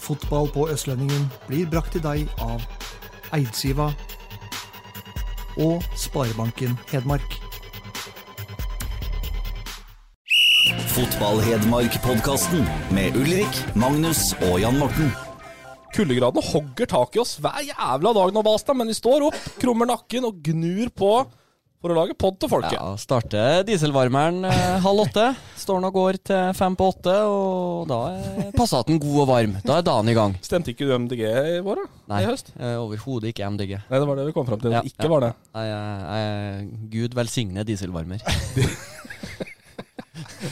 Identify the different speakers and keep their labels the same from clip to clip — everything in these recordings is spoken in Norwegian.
Speaker 1: Fotball på Østlendingen blir brakt til deg av Eidsiva og Sparebanken Hedmark.
Speaker 2: Fotball-Hedmark-podkasten med Ulrik, Magnus og Jan Morten.
Speaker 3: Kuldegradene hogger tak i oss hver jævla dag nå, Balstad, men vi står opp, krummer nakken og gnur på for å lage pod til folket.
Speaker 4: Ja, starte dieselvarmeren eh, halv åtte. Står den og går til fem på åtte, og da er Passaten god og varm. Da er dagen i gang.
Speaker 3: Stemte ikke du MDG i vår, da?
Speaker 4: Nei,
Speaker 3: I høst?
Speaker 4: eh, overhodet ikke MDG.
Speaker 3: Nei, det var det vi kom fram til.
Speaker 4: Ja,
Speaker 3: det ikke
Speaker 4: ja.
Speaker 3: var det.
Speaker 4: Nei, jeg- jeg- Gud velsigne dieselvarmer.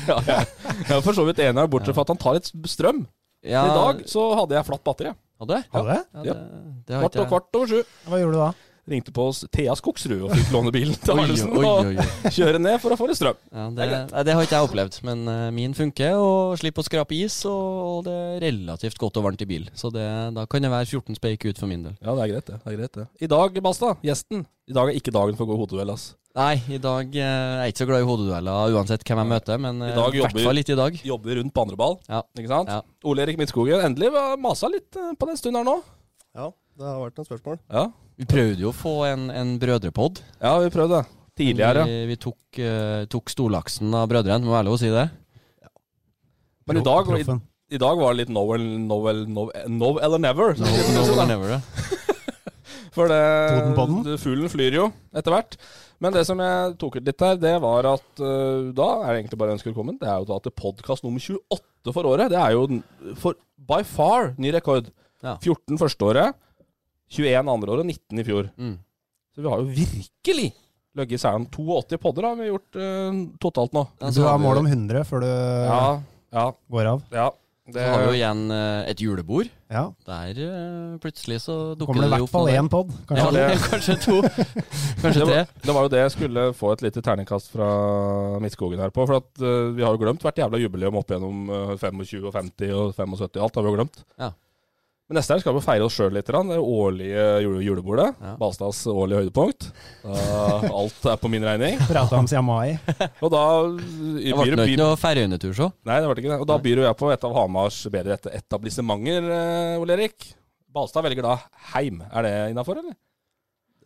Speaker 3: Ja, jeg, jeg er for så vidt enig her, bortsett fra at han tar litt strøm.
Speaker 4: Ja,
Speaker 3: I dag så hadde jeg flatt batteri.
Speaker 4: Hadde jeg?
Speaker 5: Hadde det?
Speaker 4: Ja,
Speaker 3: Ja.
Speaker 4: det, det har
Speaker 3: Kvart
Speaker 4: ikke
Speaker 3: og kvart over sju.
Speaker 5: Hva gjorde du da?
Speaker 3: Ringte på oss Thea Skogsrud og fikk låne bilen til
Speaker 4: Oi,
Speaker 3: Arnesen
Speaker 4: oi,
Speaker 3: og
Speaker 4: oi, oi.
Speaker 3: kjøre ned for å få litt strøm.
Speaker 4: Ja, det, nei, det har ikke jeg opplevd, men eh, min funker. Og slipper å skrape is, og, og det er relativt godt og varmt i bil. Så det, da kan det være 14 speik ut for min del.
Speaker 3: Ja, det er greit, det. det, er greit, det. I dag, Basta, gjesten. I dag er ikke dagen for god hodeduell, ass.
Speaker 4: Nei, i dag eh, er jeg ikke så glad i hodedueller uansett hvem jeg møter, men eh,
Speaker 3: I
Speaker 4: i
Speaker 3: dag
Speaker 4: hvert
Speaker 3: jobber-
Speaker 4: fall litt i dag.
Speaker 3: Jobber rundt på andre ball,
Speaker 4: Ja.
Speaker 3: ikke sant?
Speaker 4: Ja.
Speaker 3: Ole-Erik Midtskogen, endelig var- masa litt eh, på den stunden her nå.
Speaker 5: Ja, det har vært noen spørsmål.
Speaker 3: Ja,
Speaker 4: Vi prøvde jo å få en, en brødrepod.
Speaker 3: ja vi prøvde. Tidligere.
Speaker 4: Vi, vi tok, eh, tok storlaksen av brødrene, må være lov å si det.
Speaker 3: Men i dag, i,
Speaker 5: Proffen.
Speaker 3: i dag var det litt Noel, Noel, Noel, Noel or never. som det heter, da.
Speaker 4: Never, det.
Speaker 3: For
Speaker 5: Totenpodden.
Speaker 3: det, fuglen flyr jo etter hvert. Men det som jeg tok ut litt her, det var at eh, da er det egentlig bare å ønske velkommen. Det er jo da til podkast nummer 28 for året. Det er jo den- for, by far ny rekord.
Speaker 4: Ja.
Speaker 3: 14 førsteåret, 21 andreåret og 19 i fjor.
Speaker 4: Mm.
Speaker 3: Så vi har jo virkelig løgget i seieren. 82 podder har vi gjort eh, totalt nå.
Speaker 4: Ja, så
Speaker 5: Du har
Speaker 4: vi-
Speaker 5: mål om 100 før du eh,
Speaker 3: Ja, ja,
Speaker 5: går av.
Speaker 3: ja.
Speaker 4: Så har vi jo igjen eh, et julebord.
Speaker 5: Ja.
Speaker 4: Der eh, plutselig så dukker
Speaker 5: Kommer det i
Speaker 4: det
Speaker 5: hvert
Speaker 4: opp
Speaker 5: fall
Speaker 4: noe der.
Speaker 5: én pod?
Speaker 4: Ja,
Speaker 5: Kanskje.
Speaker 4: det, kanskje to.
Speaker 3: det
Speaker 4: Kanskje tre.
Speaker 3: var, det var jo det jeg skulle få et lite terningkast fra Midtskogen her på. For at eh, vi har jo glemt hvert jævla jubileum opp gjennom eh, 25 og 50 og 75. Alt har vi jo glemt.
Speaker 4: Ja.
Speaker 3: Men neste år skal vi feire oss sjøl litt. grann. Det er jo årlige jule julebordet.
Speaker 4: Ja.
Speaker 3: Balstads årlige høydepunkt. Da, alt er på min regning.
Speaker 5: Prata om Siamai.
Speaker 3: Og da eh,
Speaker 4: Det ble
Speaker 3: byr,
Speaker 4: nå ikke
Speaker 3: byr,
Speaker 4: noe Færøyene-tur, så.
Speaker 3: Nei, det var det ikke det. Og da byr jo jeg på et av Hamars bedre et- etablissementer, eh, Ole Erik. Balstad velger da heim. Er det innafor, eller?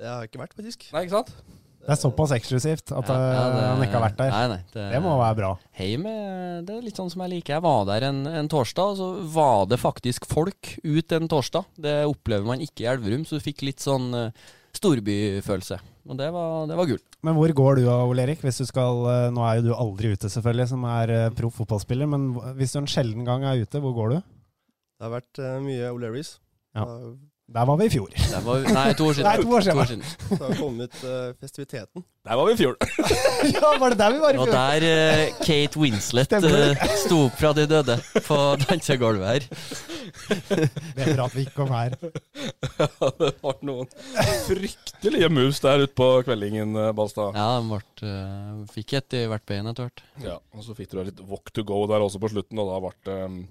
Speaker 6: Det har jeg ikke vært, faktisk.
Speaker 3: Nei, ikke sant?
Speaker 5: Det er såpass eksklusivt at eh, han ikke har vært der.
Speaker 4: Nei, nei, det,
Speaker 5: Det må være bra.
Speaker 4: Heim eh, det er litt sånn som jeg liker. Jeg var der en, en torsdag, og så var det faktisk folk ut en torsdag. Det opplever man ikke i Elverum, så du fikk litt sånn eh, storbyfølelse. Og det var, det var gull.
Speaker 5: Men hvor går du da, Ole Erik? Hvis du skal, eh, nå er jo du aldri ute, selvfølgelig, som er eh, proff fotballspiller, men hv- hvis du en sjelden gang er ute, hvor går du?
Speaker 6: Det har vært eh, mye O'Learys.
Speaker 5: Ja.
Speaker 6: Det har-
Speaker 5: Der var vi i fjor.
Speaker 4: Det var, nei, to år siden.
Speaker 5: Nei, to år siden.
Speaker 6: det har kommet eh, festiviteten.
Speaker 3: Der var vi i fjor.
Speaker 5: ja, var det der vi var
Speaker 4: Det
Speaker 5: i
Speaker 4: var
Speaker 5: fjor?
Speaker 4: der eh, Kate Winslet
Speaker 5: Stemmer.
Speaker 4: eh, sto opp fra de døde på dansegulvet her.
Speaker 5: Det prater vi ikke om her.
Speaker 3: Ja, det var noen fryktelige moves der ute på kveldingen, eh, Balstad.
Speaker 4: Ja, de ble, eh, fikk et i hvert bein etter hvert.
Speaker 3: Ja, og så fikk du litt walk to go der også på slutten, og da ble det, mm,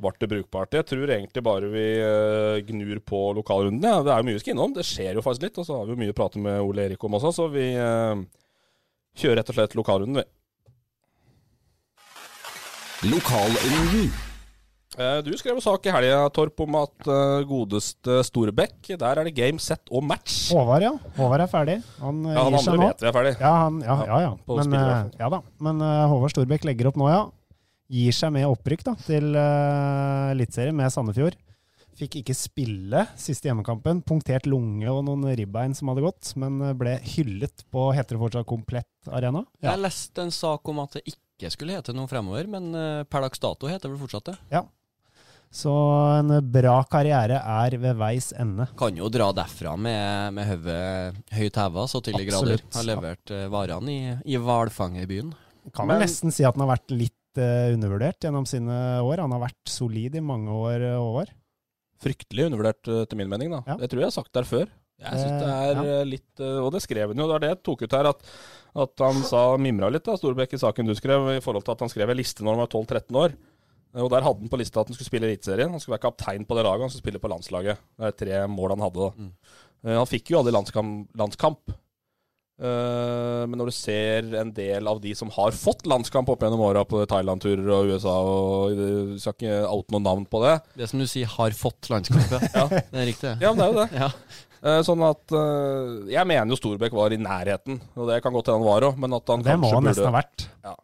Speaker 3: ble det brukbart. Jeg tror egentlig bare vi eh, gnur på lokalrundene. Ja, det er jo mye vi skal innom, det skjer jo faktisk litt. Og så har vi jo mye å prate med Ole Erik om også, så vi eh, kjører rett og slett lokalrunden, vi.
Speaker 2: Lokalrunden.
Speaker 3: Eh, Du skrev jo sak i helga, Torp, om at eh, godeste Storbekk, der er det game, set og match.
Speaker 5: Håvard, ja. Håvard er ferdig. Han eh,
Speaker 3: Ja, han
Speaker 5: gir seg
Speaker 3: andre
Speaker 5: nå.
Speaker 3: vet vi er ferdig.
Speaker 5: Ja, han, ja, ja. ja.
Speaker 3: på
Speaker 5: Men,
Speaker 3: spillet i
Speaker 5: eh,
Speaker 3: hvert
Speaker 5: ja da. Men eh, Håvard Storbekk legger opp nå, ja. Gir seg med opprykk da, til uh, Eliteserien med Sandefjord. Fikk ikke spille siste hjemmekampen. Punktert lunge og noen ribbein som hadde gått, men eh, ble hyllet på heter det fortsatt Komplett Arena. Ja.
Speaker 4: Jeg leste en sak om at det ikke skulle hete noe fremover, men eh, per dags dato heter det vel fortsatt det.
Speaker 5: Så en bra karriere er ved veis ende.
Speaker 4: Kan jo dra derfra med, med hodet høyt heva så til de grader.
Speaker 5: Absolutt,
Speaker 4: Har
Speaker 5: ja.
Speaker 4: levert eh, varene i, i hvalfangerbyen.
Speaker 5: Kan vel
Speaker 3: Men-
Speaker 5: nesten si at han har vært litt eh, undervurdert gjennom sine år. Han har vært solid i mange år. eh, Håvard.
Speaker 3: Fryktelig undervurdert, eh, til min mening. da.
Speaker 5: Ja.
Speaker 3: Det tror jeg jeg har sagt der før. Jeg synes det
Speaker 5: Eh,
Speaker 3: er eh, litt eh, Og det skrev han jo, det var det jeg tok ut her. At, at han sa mimra litt, da, Storbekk, i saken du skrev, i forhold til at han skrev en liste når han var 12-13 år. Eh, Og der hadde han på lista at han skulle spille i Eliteserien. Han skulle være kaptein på det laget, han skulle spille på landslaget. Det er tre mål han hadde, da. Eh, Han fikk jo aldri landskamp. landskamp. Eh, Men når du ser en del av de som har fått landskamp opp gjennom åra på Thailand-turer og USA og eh, Vi skal ikke oute noe navn på det.
Speaker 4: Det som du sier, har fått landskapet.
Speaker 3: Ja.
Speaker 4: Det er riktig.
Speaker 3: Ja, men det er jo det.
Speaker 4: Ja.
Speaker 3: Eh, Sånn at eh, Jeg mener jo Storbekk var i nærheten, og det kan godt hende han var òg, men at han
Speaker 5: Det må
Speaker 3: kanskje
Speaker 5: han nesten
Speaker 3: burde
Speaker 5: ha vært.
Speaker 3: Ja.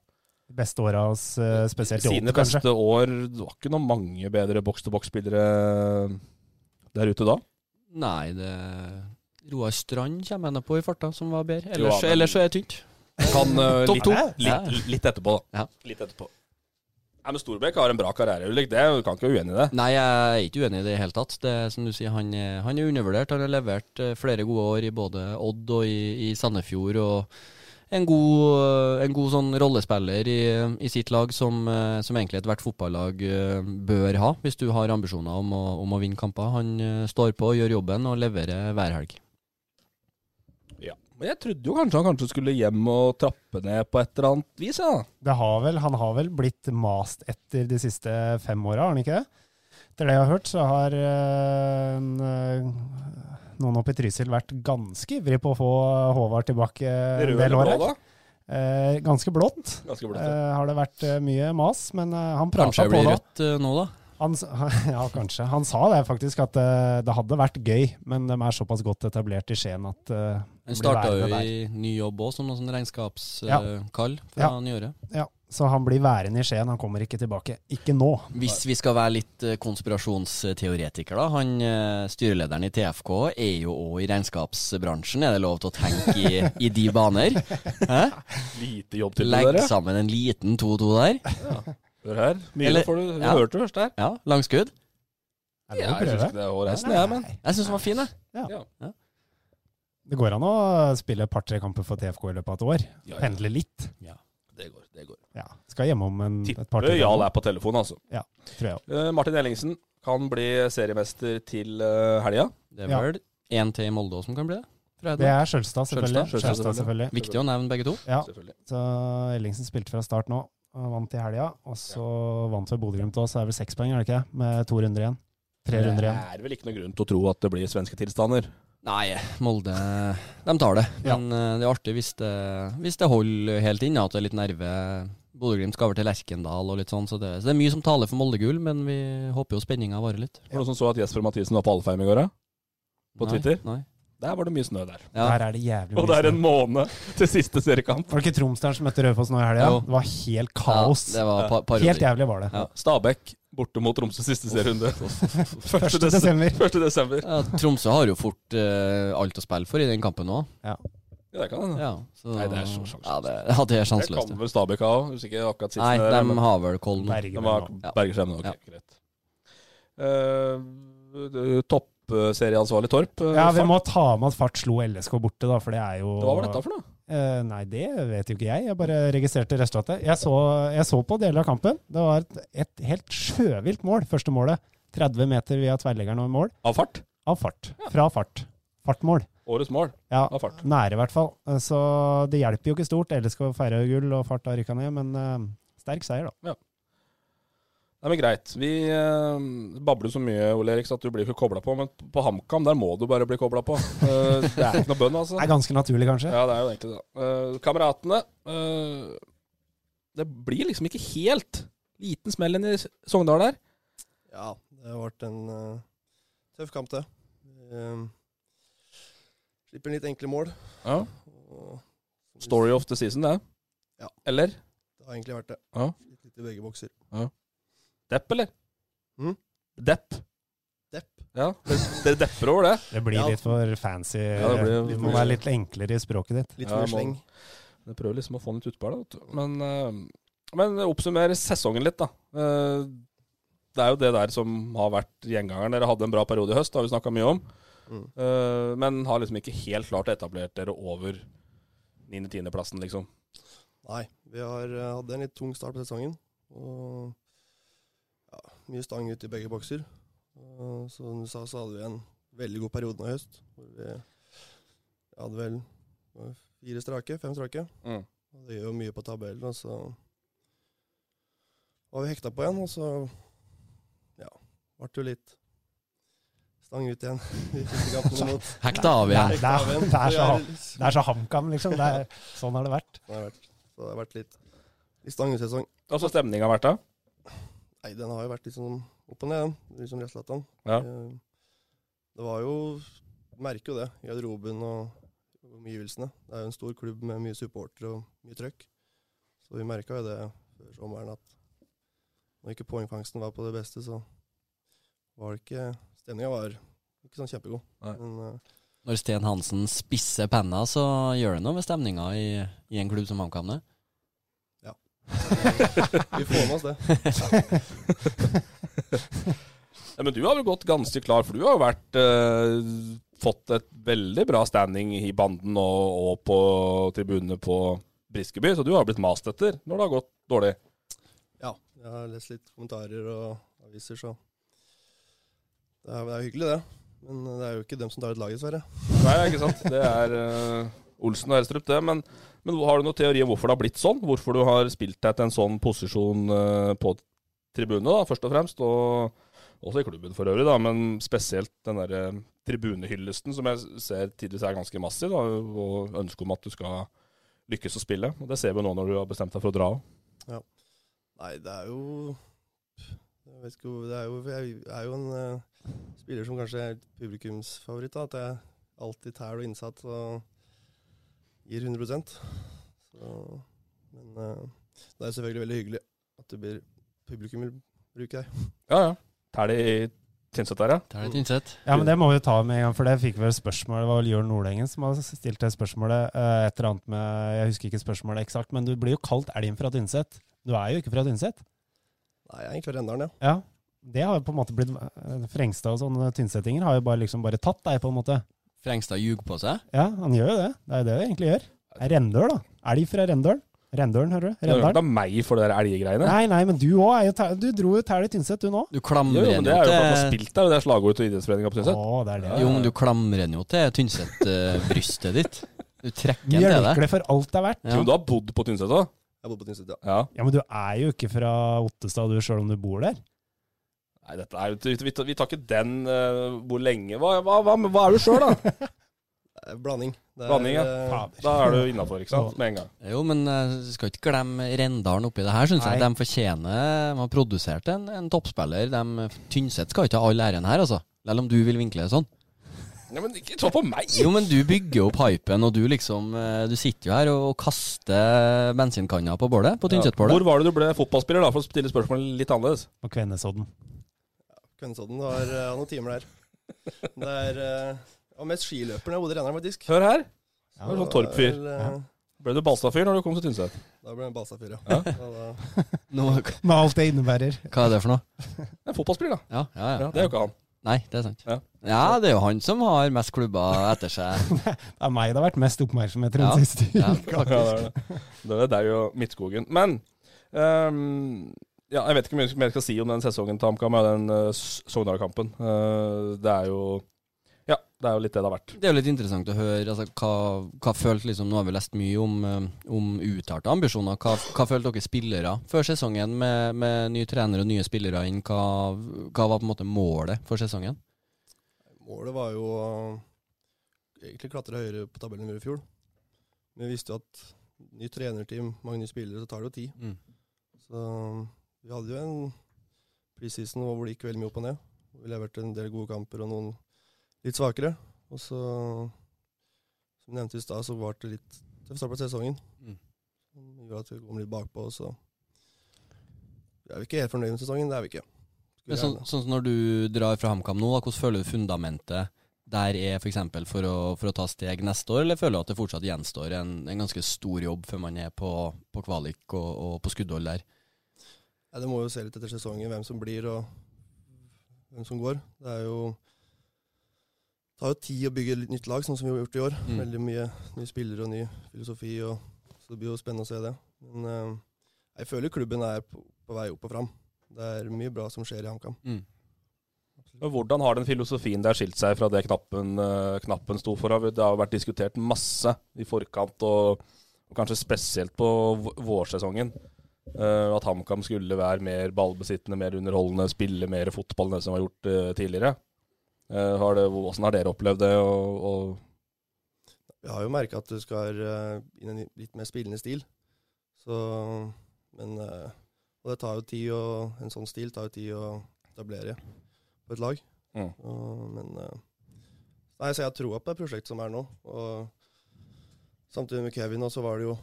Speaker 5: De beste åra hans, eh, spesielt i
Speaker 3: Sine
Speaker 5: Åtte, kanskje.
Speaker 3: beste år Det var ikke noen mange bedre boks-til-boks-spillere eh, der ute da.
Speaker 4: Nei, det Roar Strand kommer jeg nå på i farta, som var bedre.
Speaker 3: Jo,
Speaker 4: Ellers,
Speaker 3: men-
Speaker 4: ellers så er det tynt.
Speaker 3: Kan eh,
Speaker 4: Topp
Speaker 3: litt,
Speaker 4: to.
Speaker 3: litt, litt etterpå, da.
Speaker 4: Ja.
Speaker 3: Litt etterpå. Nei, men Storbekk har en bra karriere, Ulrik. Det du kan ikke være uenig i det.
Speaker 4: Nei, jeg er ikke uenig i det i hele tatt. Det er som du sier, han, er- han er undervurdert. Han har levert eh, flere gode år i både Odd og i, i Sandefjord. og en god, eh, en god sånn rollespiller i, i sitt lag, som, eh, som egentlig ethvert fotballag eh, bør ha, hvis du har ambisjoner om å, om å vinne kamper. Han eh, står på, gjør jobben og leverer hver helg.
Speaker 3: Ja. Men jeg trodde jo kanskje han kanskje skulle hjem og trappe ned på et eller annet vis, ja.
Speaker 5: Det har vel, han har vel blitt mast etter de siste fem åra, har han ikke det? Etter det jeg har hørt, så har eh, en, eh, noen oppe i Trysil vært ganske ivrig på å få Håvard tilbake en del år. her.
Speaker 3: da.
Speaker 5: Eh, ganske blått.
Speaker 3: Ganske
Speaker 5: Eh,
Speaker 3: blått. ja.
Speaker 5: har det vært eh, mye mas, men eh, han prata
Speaker 4: Kanskje det
Speaker 5: på
Speaker 4: blir
Speaker 5: da.
Speaker 4: rødt eh, nå, da.
Speaker 5: Han, s- ja, kanskje. Han sa det faktisk, at eh, det hadde vært gøy, men de er såpass godt etablert i Skien at eh,
Speaker 4: Han
Speaker 5: blir
Speaker 4: starta jo
Speaker 5: værende der.
Speaker 4: i ny jobb òg, som noen sånn
Speaker 5: Ja.
Speaker 4: regnskapskall eh, fra
Speaker 5: Ja.
Speaker 4: nyåret.
Speaker 5: Ja, Så han blir værende i Skien, han kommer ikke tilbake. Ikke nå.
Speaker 4: Hvis vi skal være litt eh, konspirasjonsteoretikere, da. Han eh, styrelederen i TFK er jo òg i regnskapsbransjen. Er det lov til å tenke i, i de baner? Hæ?
Speaker 3: Lite jobb til
Speaker 4: Legg
Speaker 3: dere.
Speaker 4: sammen en liten 2-2 der.
Speaker 3: Hør her. Mye
Speaker 4: Eller-
Speaker 3: får du, du
Speaker 4: ja.
Speaker 3: hørte det først der.
Speaker 4: Ja, Langskudd.
Speaker 5: Er det
Speaker 3: Ja,
Speaker 5: å
Speaker 3: jeg synes
Speaker 5: prøve?
Speaker 3: ikke det er hårreisende, jeg, men
Speaker 4: Jeg syns den var fin, jeg.
Speaker 5: Det går an å spille et par-tre kamper for TFK i løpet av et år.
Speaker 3: Ja, ja.
Speaker 5: Pendle litt.
Speaker 3: det går. det går.
Speaker 5: Ja. Skal hjem om en, Mm. et
Speaker 3: Tipper
Speaker 5: par-tre
Speaker 3: Jarl er på telefon, altså.
Speaker 5: tror jeg.
Speaker 3: Eh, Martin Ellingsen kan bli seriemester til uh, helga.
Speaker 4: Det er
Speaker 5: Ja.
Speaker 4: vel én til i Molde òg som kan bli det. tror jeg
Speaker 5: Det
Speaker 4: det.
Speaker 5: er Skjølstad, selvfølgelig.
Speaker 3: Skjølstad, Skjølstad,
Speaker 5: Skjølstad, selvfølgelig.
Speaker 4: Viktig å nevne begge to.
Speaker 5: Ja,
Speaker 3: Selvfølgelig.
Speaker 5: så Ellingsen spilte fra start nå. og Vant i helga, og så vant ved Bodø-Glimt òg, så er det vel seks poeng, er det ikke? Med to runder igjen. Tre runder igjen.
Speaker 3: Det er vel ikke noe grunn til å tro at det blir svenske tilstander.
Speaker 4: Nei, Molde de tar det.
Speaker 5: Ja.
Speaker 4: Men eh, det er artig hvis det, hvis det holder helt inn, ja, at det er litt nerve. Bodø-Glimt skal over til Lerkendal og litt sånn, så det, så det er mye som taler for Molde-gull, men vi håper jo spenninga varer litt.
Speaker 3: Var det noen som så at Jesper Mathisen var på Alfheim i går? ja? På
Speaker 4: Nei,
Speaker 3: Twitter?
Speaker 4: Nei.
Speaker 3: Der var det mye snø der.
Speaker 4: Ja.
Speaker 5: Der er det jævlig
Speaker 3: Og det er
Speaker 5: snø.
Speaker 3: en måned til siste seriekamp.
Speaker 5: Var det ikke Tromsdalen som møtte Rødfoss nå i helga?
Speaker 4: Jo.
Speaker 5: Det var helt kaos.
Speaker 4: Ja, det var pa parodi.
Speaker 5: helt jævlig var det.
Speaker 4: Ja.
Speaker 3: Stabæk borte mot Tromsø siste serierunde. 1.
Speaker 5: 1. desember.
Speaker 3: 1. desember.
Speaker 4: Ja, Tromsø har jo fort eh, alt å spille for i den kampen òg.
Speaker 3: Ja, det kan hende.
Speaker 4: Ja, så-
Speaker 3: Nei, det er så sjanseløst.
Speaker 4: Ja, det, ja, det er
Speaker 3: Det
Speaker 4: sjanseløst.
Speaker 3: kan
Speaker 4: det.
Speaker 3: vel Stabæk ha òg, hvis ikke akkurat siste
Speaker 4: Nei,
Speaker 3: der, men-
Speaker 4: de har vel koll nå.
Speaker 5: Bergen
Speaker 3: Den var
Speaker 5: nå.
Speaker 4: Ja.
Speaker 3: bergeskjermen, ok,
Speaker 4: Ja.
Speaker 3: greit. Eh, Toppserieansvarlig Torp. eh,
Speaker 5: Ja, vi
Speaker 3: fart.
Speaker 5: må ta med at Fart slo LSK borte, da, for det er jo
Speaker 3: Det var vel dette for noe?
Speaker 5: Eh, nei, det vet jo ikke jeg. Jeg bare registrerte resultatet. Jeg så, jeg så på deler av kampen. Det var et, et helt sjøvilt mål, første målet. 30 meter via tverrleggeren og i mål.
Speaker 3: Av fart?
Speaker 5: Av fart. Fra fart. Fartmål.
Speaker 3: Årets mål
Speaker 5: Ja,
Speaker 3: av fart.
Speaker 5: nære i hvert fall. Eh, Så det hjelper jo ikke stort. LSK feirer jo gull, og Fart har rykka ned, men eh, sterk seier, da.
Speaker 3: Nei, men Greit. Vi eh, babler så mye Ole Erik, så at du blir ikke kobla på, men på HamKam der må du bare bli kobla på. Eh, det er ikke noe bønn, altså.
Speaker 5: Det er ganske naturlig, kanskje.
Speaker 3: Ja, det er jo egentlig det. Eh, kameratene eh, Det blir liksom ikke helt liten smell inn i Sogndal der.
Speaker 6: Ja, det har vært en eh, tøff kamp, det. Uh, slipper inn litt enkle mål.
Speaker 3: Ja.
Speaker 6: Og,
Speaker 3: Story of the season, det.
Speaker 6: Ja.
Speaker 3: Eller?
Speaker 6: Det har egentlig vært det.
Speaker 3: Ja.
Speaker 6: Litt, litt i begge bokser.
Speaker 3: Depp, eller?
Speaker 6: Mm.
Speaker 3: Depp.
Speaker 6: Depp.
Speaker 3: Ja, dere- Dere depper over det.
Speaker 5: Det blir
Speaker 6: Ja.
Speaker 5: litt for fancy.
Speaker 3: Ja, det blir-
Speaker 5: Du må være litt enklere i språket ditt.
Speaker 6: Litt
Speaker 3: Ja,
Speaker 6: for
Speaker 3: må-
Speaker 6: mye sleng.
Speaker 3: Jeg prøver liksom å få den litt utpå her, da, vet du. Men, eh, men oppsummer sesongen litt, da. Eh, det er jo det der som har vært gjengangeren. Dere hadde en bra periode i høst, det har vi snakka mye om.
Speaker 6: Mm.
Speaker 3: Eh, men har liksom ikke helt klart etablert dere over 9.-10.-plassen, liksom.
Speaker 6: Nei, vi har eh, hatt en litt tung start på sesongen. Og ja, mye stang ut i begge bokser. Og Og som du sa, så hadde vi en veldig god periode nå i høst. Hvor vi hadde vel eh, fire strake, fem strake.
Speaker 3: Mm.
Speaker 6: Og det gjør jo mye på tabellen. Og så var vi hekta på igjen, og så ja, ble det jo litt stang ut igjen. i siste kampene mot
Speaker 4: Hekta av igjen.
Speaker 5: Det er-
Speaker 6: Hekta av igjen.
Speaker 5: det er så-
Speaker 6: Og jeg-
Speaker 5: Det er så HamKam, liksom. Det er, sånn har det vært.
Speaker 6: Det har vært, så det har vært litt, litt stangesesong.
Speaker 3: Altså stemninga har vært da?
Speaker 6: Nei, den har jo vært liksom opp og ned, den, liksom Reslatan.
Speaker 3: Ja.
Speaker 6: Eh, Det var jo Merker jo det, i garderoben og omgivelsene. Det er jo en stor klubb med mye supportere og mye trøkk. Så vi merka jo det før sommeren at når ikke poengfangsten var på det beste, så var det ikke Stemninga var ikke sånn kjempegod.
Speaker 3: Nei.
Speaker 6: Men eh,
Speaker 4: Når Sten Hansen spisser penna, så gjør det noe med stemninga i, i en klubb som HamKam. det.
Speaker 6: vi får med oss det.
Speaker 3: Ja, men du har vel gått ganske klar, for du har jo vært eh, fått et veldig bra standing i banden og, og på tribunene på Briskeby, så du har blitt mast etter når det har gått dårlig.
Speaker 6: Ja, jeg har lest litt kommentarer og aviser, så det er, det er hyggelig, det. Men det er jo ikke dem som tar ut laget, dessverre.
Speaker 3: Nei, ikke sant? Det er eh, Olsen og Elstrup, det. Men, men har du noen teori om hvorfor det har blitt sånn? Hvorfor du har spilt deg til en sånn posisjon eh, på tribunene, da, først og fremst? Og også i klubben for øvrig, da, men spesielt den derre tribunehyllesten som jeg ser tidvis er ganske massiv, da, og ønsket om at du skal lykkes å spille. Og Det ser vi nå når du har bestemt deg for å dra.
Speaker 6: Nei, det er jo Jeg vet ikke hvor Det er jo, jeg er jo en eh, spiller som kanskje er publikumsfavoritt. da, At jeg alltid tærer og innsatt og gir 100 så, Men eh, det er selvfølgelig veldig hyggelig at det blir publikum vil bruke deg.
Speaker 3: Ja, ja. Tæl i Tynset der, ja.
Speaker 4: Det er litt innsett.
Speaker 5: Ja, men det må vi jo ta med en gang, for det fikk vi et spørsmål. Det var vel Jørn Nordengen som har stilt det spørsmålet. eh, Et eller annet med Jeg husker ikke spørsmålet eksakt, men du blir jo kalt elgen fra Tynset. Du er jo ikke fra Tynset.
Speaker 6: Nei, jeg er egentlig fra Rendalen, ja.
Speaker 5: Ja. Det har jo på en måte blitt eh, Frengstad og sånne tynsettinger har jo bare liksom bare tatt deg, på en måte.
Speaker 4: Frengstad ljuger på seg.
Speaker 5: Ja, han gjør jo det. Det er jo det det egentlig gjør. Det er Rendøl, da. Elg fra Rendøl. Rendølen, hører
Speaker 3: Du
Speaker 5: du?
Speaker 3: har hørt
Speaker 5: Rendalen.
Speaker 3: av meg for det der elggreiene.
Speaker 5: Nei, nei, men du òg er jo tæ- Du dro jo tæl i Tynset, du nå.
Speaker 4: Du
Speaker 3: Jo,
Speaker 4: klamrer
Speaker 3: jo, men det er jo for at du har
Speaker 4: jo til
Speaker 3: spilt der, og det er slagordet til idrettsforeninga på Tynset.
Speaker 5: Å, det er det.
Speaker 4: Jo, men du klamrer jo til Tynset-brystet ditt. Du trekker en til deg.
Speaker 5: Mjølker det for alt det er verdt.
Speaker 4: Ja.
Speaker 3: Men du har bodd på Tynset òg?
Speaker 6: Jeg bor på Tynset, ja.
Speaker 3: Ja.
Speaker 5: Ja, men du er jo ikke fra Ottestad, du, sjøl om du bor der.
Speaker 3: Nei, dette er, jo- vi, tar, vi tar ikke den eh, hvor lenge Hva, hva, hva, hva er du sjøl, da?
Speaker 6: Det er Blanding. Det er,
Speaker 3: Blanding, ja.
Speaker 6: eh,
Speaker 5: Fader.
Speaker 3: Da er du innafor, ikke sant? Med en gang.
Speaker 4: Jo, men eh, du skal ikke glemme Rendalen oppi det her, syns jeg.
Speaker 5: Nei.
Speaker 4: De fortjener De har produsert en, en toppspiller. De, Tynset skal ikke ha all æren her, altså. Selv om du vil vinkle det sånn.
Speaker 3: Ja, men ikke ta på meg!
Speaker 4: Jo, men du bygger opp hypen, og du liksom eh, Du sitter jo her og, og kaster bensinkanna på bålet. På Tynset-bålet.
Speaker 3: Hvor var det du ble fotballspiller, da? For å stille spørsmålet litt annerledes.
Speaker 5: På Kvennesodden.
Speaker 6: Kvennesodden har eh, noen timer der. Det er uh, ja, mest skiløperne og hodet renner, faktisk.
Speaker 3: Hør her.
Speaker 5: Ja,
Speaker 3: Du var sånn Torp-fyr.
Speaker 6: Vel, eh,
Speaker 3: Ble du Balstad-fyr når du kom til Tynset?
Speaker 6: Da ble det Balstad-fyr, ja. Og da-
Speaker 4: Nå,
Speaker 5: Med alt det innebærer.
Speaker 4: hva er det for noe?
Speaker 3: Ja, fotballspiller, da.
Speaker 4: Ja, ja, ja.
Speaker 3: Ja, det er jo ikke han.
Speaker 4: Nei, det er sant.
Speaker 3: Ja.
Speaker 4: Ja. det er jo han som har mest klubber etter seg.
Speaker 5: Det er meg det har vært mest oppmerksomhet rundt
Speaker 4: Ja.
Speaker 5: siste uka.
Speaker 4: Ja,
Speaker 3: Ja, det er det. Det er deg og Midtskogen. Men ehm, ja, jeg vet ikke hvor mye mer jeg skal si om den sesongen til HamKam og den uh, Sogndal-kampen. Eh, det er jo Ja, det er jo litt det det har vært.
Speaker 4: Det er jo litt interessant å høre altså, hva, hva følte liksom, Nå har vi lest mye om, eh, om uttalte ambisjoner. Hva, hva følte dere spillere før sesongen med, med ny trener og nye spillere inn? Hva, hva var på en måte målet for sesongen?
Speaker 6: Målet var jo å egentlig klatre høyere på tabellen enn vi gjorde i fjor. Men vi visste jo at ny trenerteam, mange nye spillere, så tar det jo tid. Så vi hadde jo en preseason hvor det gikk veldig mye opp og ned. Vi leverte en del gode kamper og noen litt svakere. Og så, som nevnt i stad, så var det litt tøff start på sesongen.
Speaker 4: Mm.
Speaker 6: Som gjorde at vi kom litt bakpå, og så Vi er jo ikke helt fornøyd med sesongen, det er vi ikke. Skulle
Speaker 4: Men sånn,
Speaker 6: gjerne-
Speaker 4: sånn som når du drar fra HamKam nå, da, hvordan føler du fundamentet der er for, eksempel, for, å, for å ta steg neste år, eller føler du at det fortsatt gjenstår en, en ganske stor jobb før man er på, på kvalik og, og på skuddhold der?
Speaker 6: Ja, det må jo se litt etter sesongen hvem som blir og hvem som går. Det er jo det tar jo tid å bygge et nytt lag, sånn som vi har gjort i år.
Speaker 4: Mm.
Speaker 6: Veldig mye nye spillere og ny filosofi, og, så det blir jo spennende å se det. Men eh, jeg føler klubben er på, på vei opp og fram. Det er mye bra som skjer i HamKam.
Speaker 4: Mm.
Speaker 3: Men Hvordan har den filosofien der skilt seg fra det knappen, eh, knappen sto for? Det har vært diskutert masse i forkant, og, og kanskje spesielt på v- vårsesongen. eh, at HamKam skulle være mer ballbesittende, mer underholdende, spille mer fotball enn det som var gjort eh, tidligere. Eh, har det, hvordan har dere opplevd det? Og, og
Speaker 6: Jeg har jo merka at du skal eh, inn i en litt mer spillende stil. Så, men eh, Og det tar jo tid, og en sånn stil tar jo tid å etablere på et lag.
Speaker 3: Mm.
Speaker 6: Og, men eh, Nei, så jeg har troa på det prosjektet som er nå. Og samtidig med Kevin, og så var det jo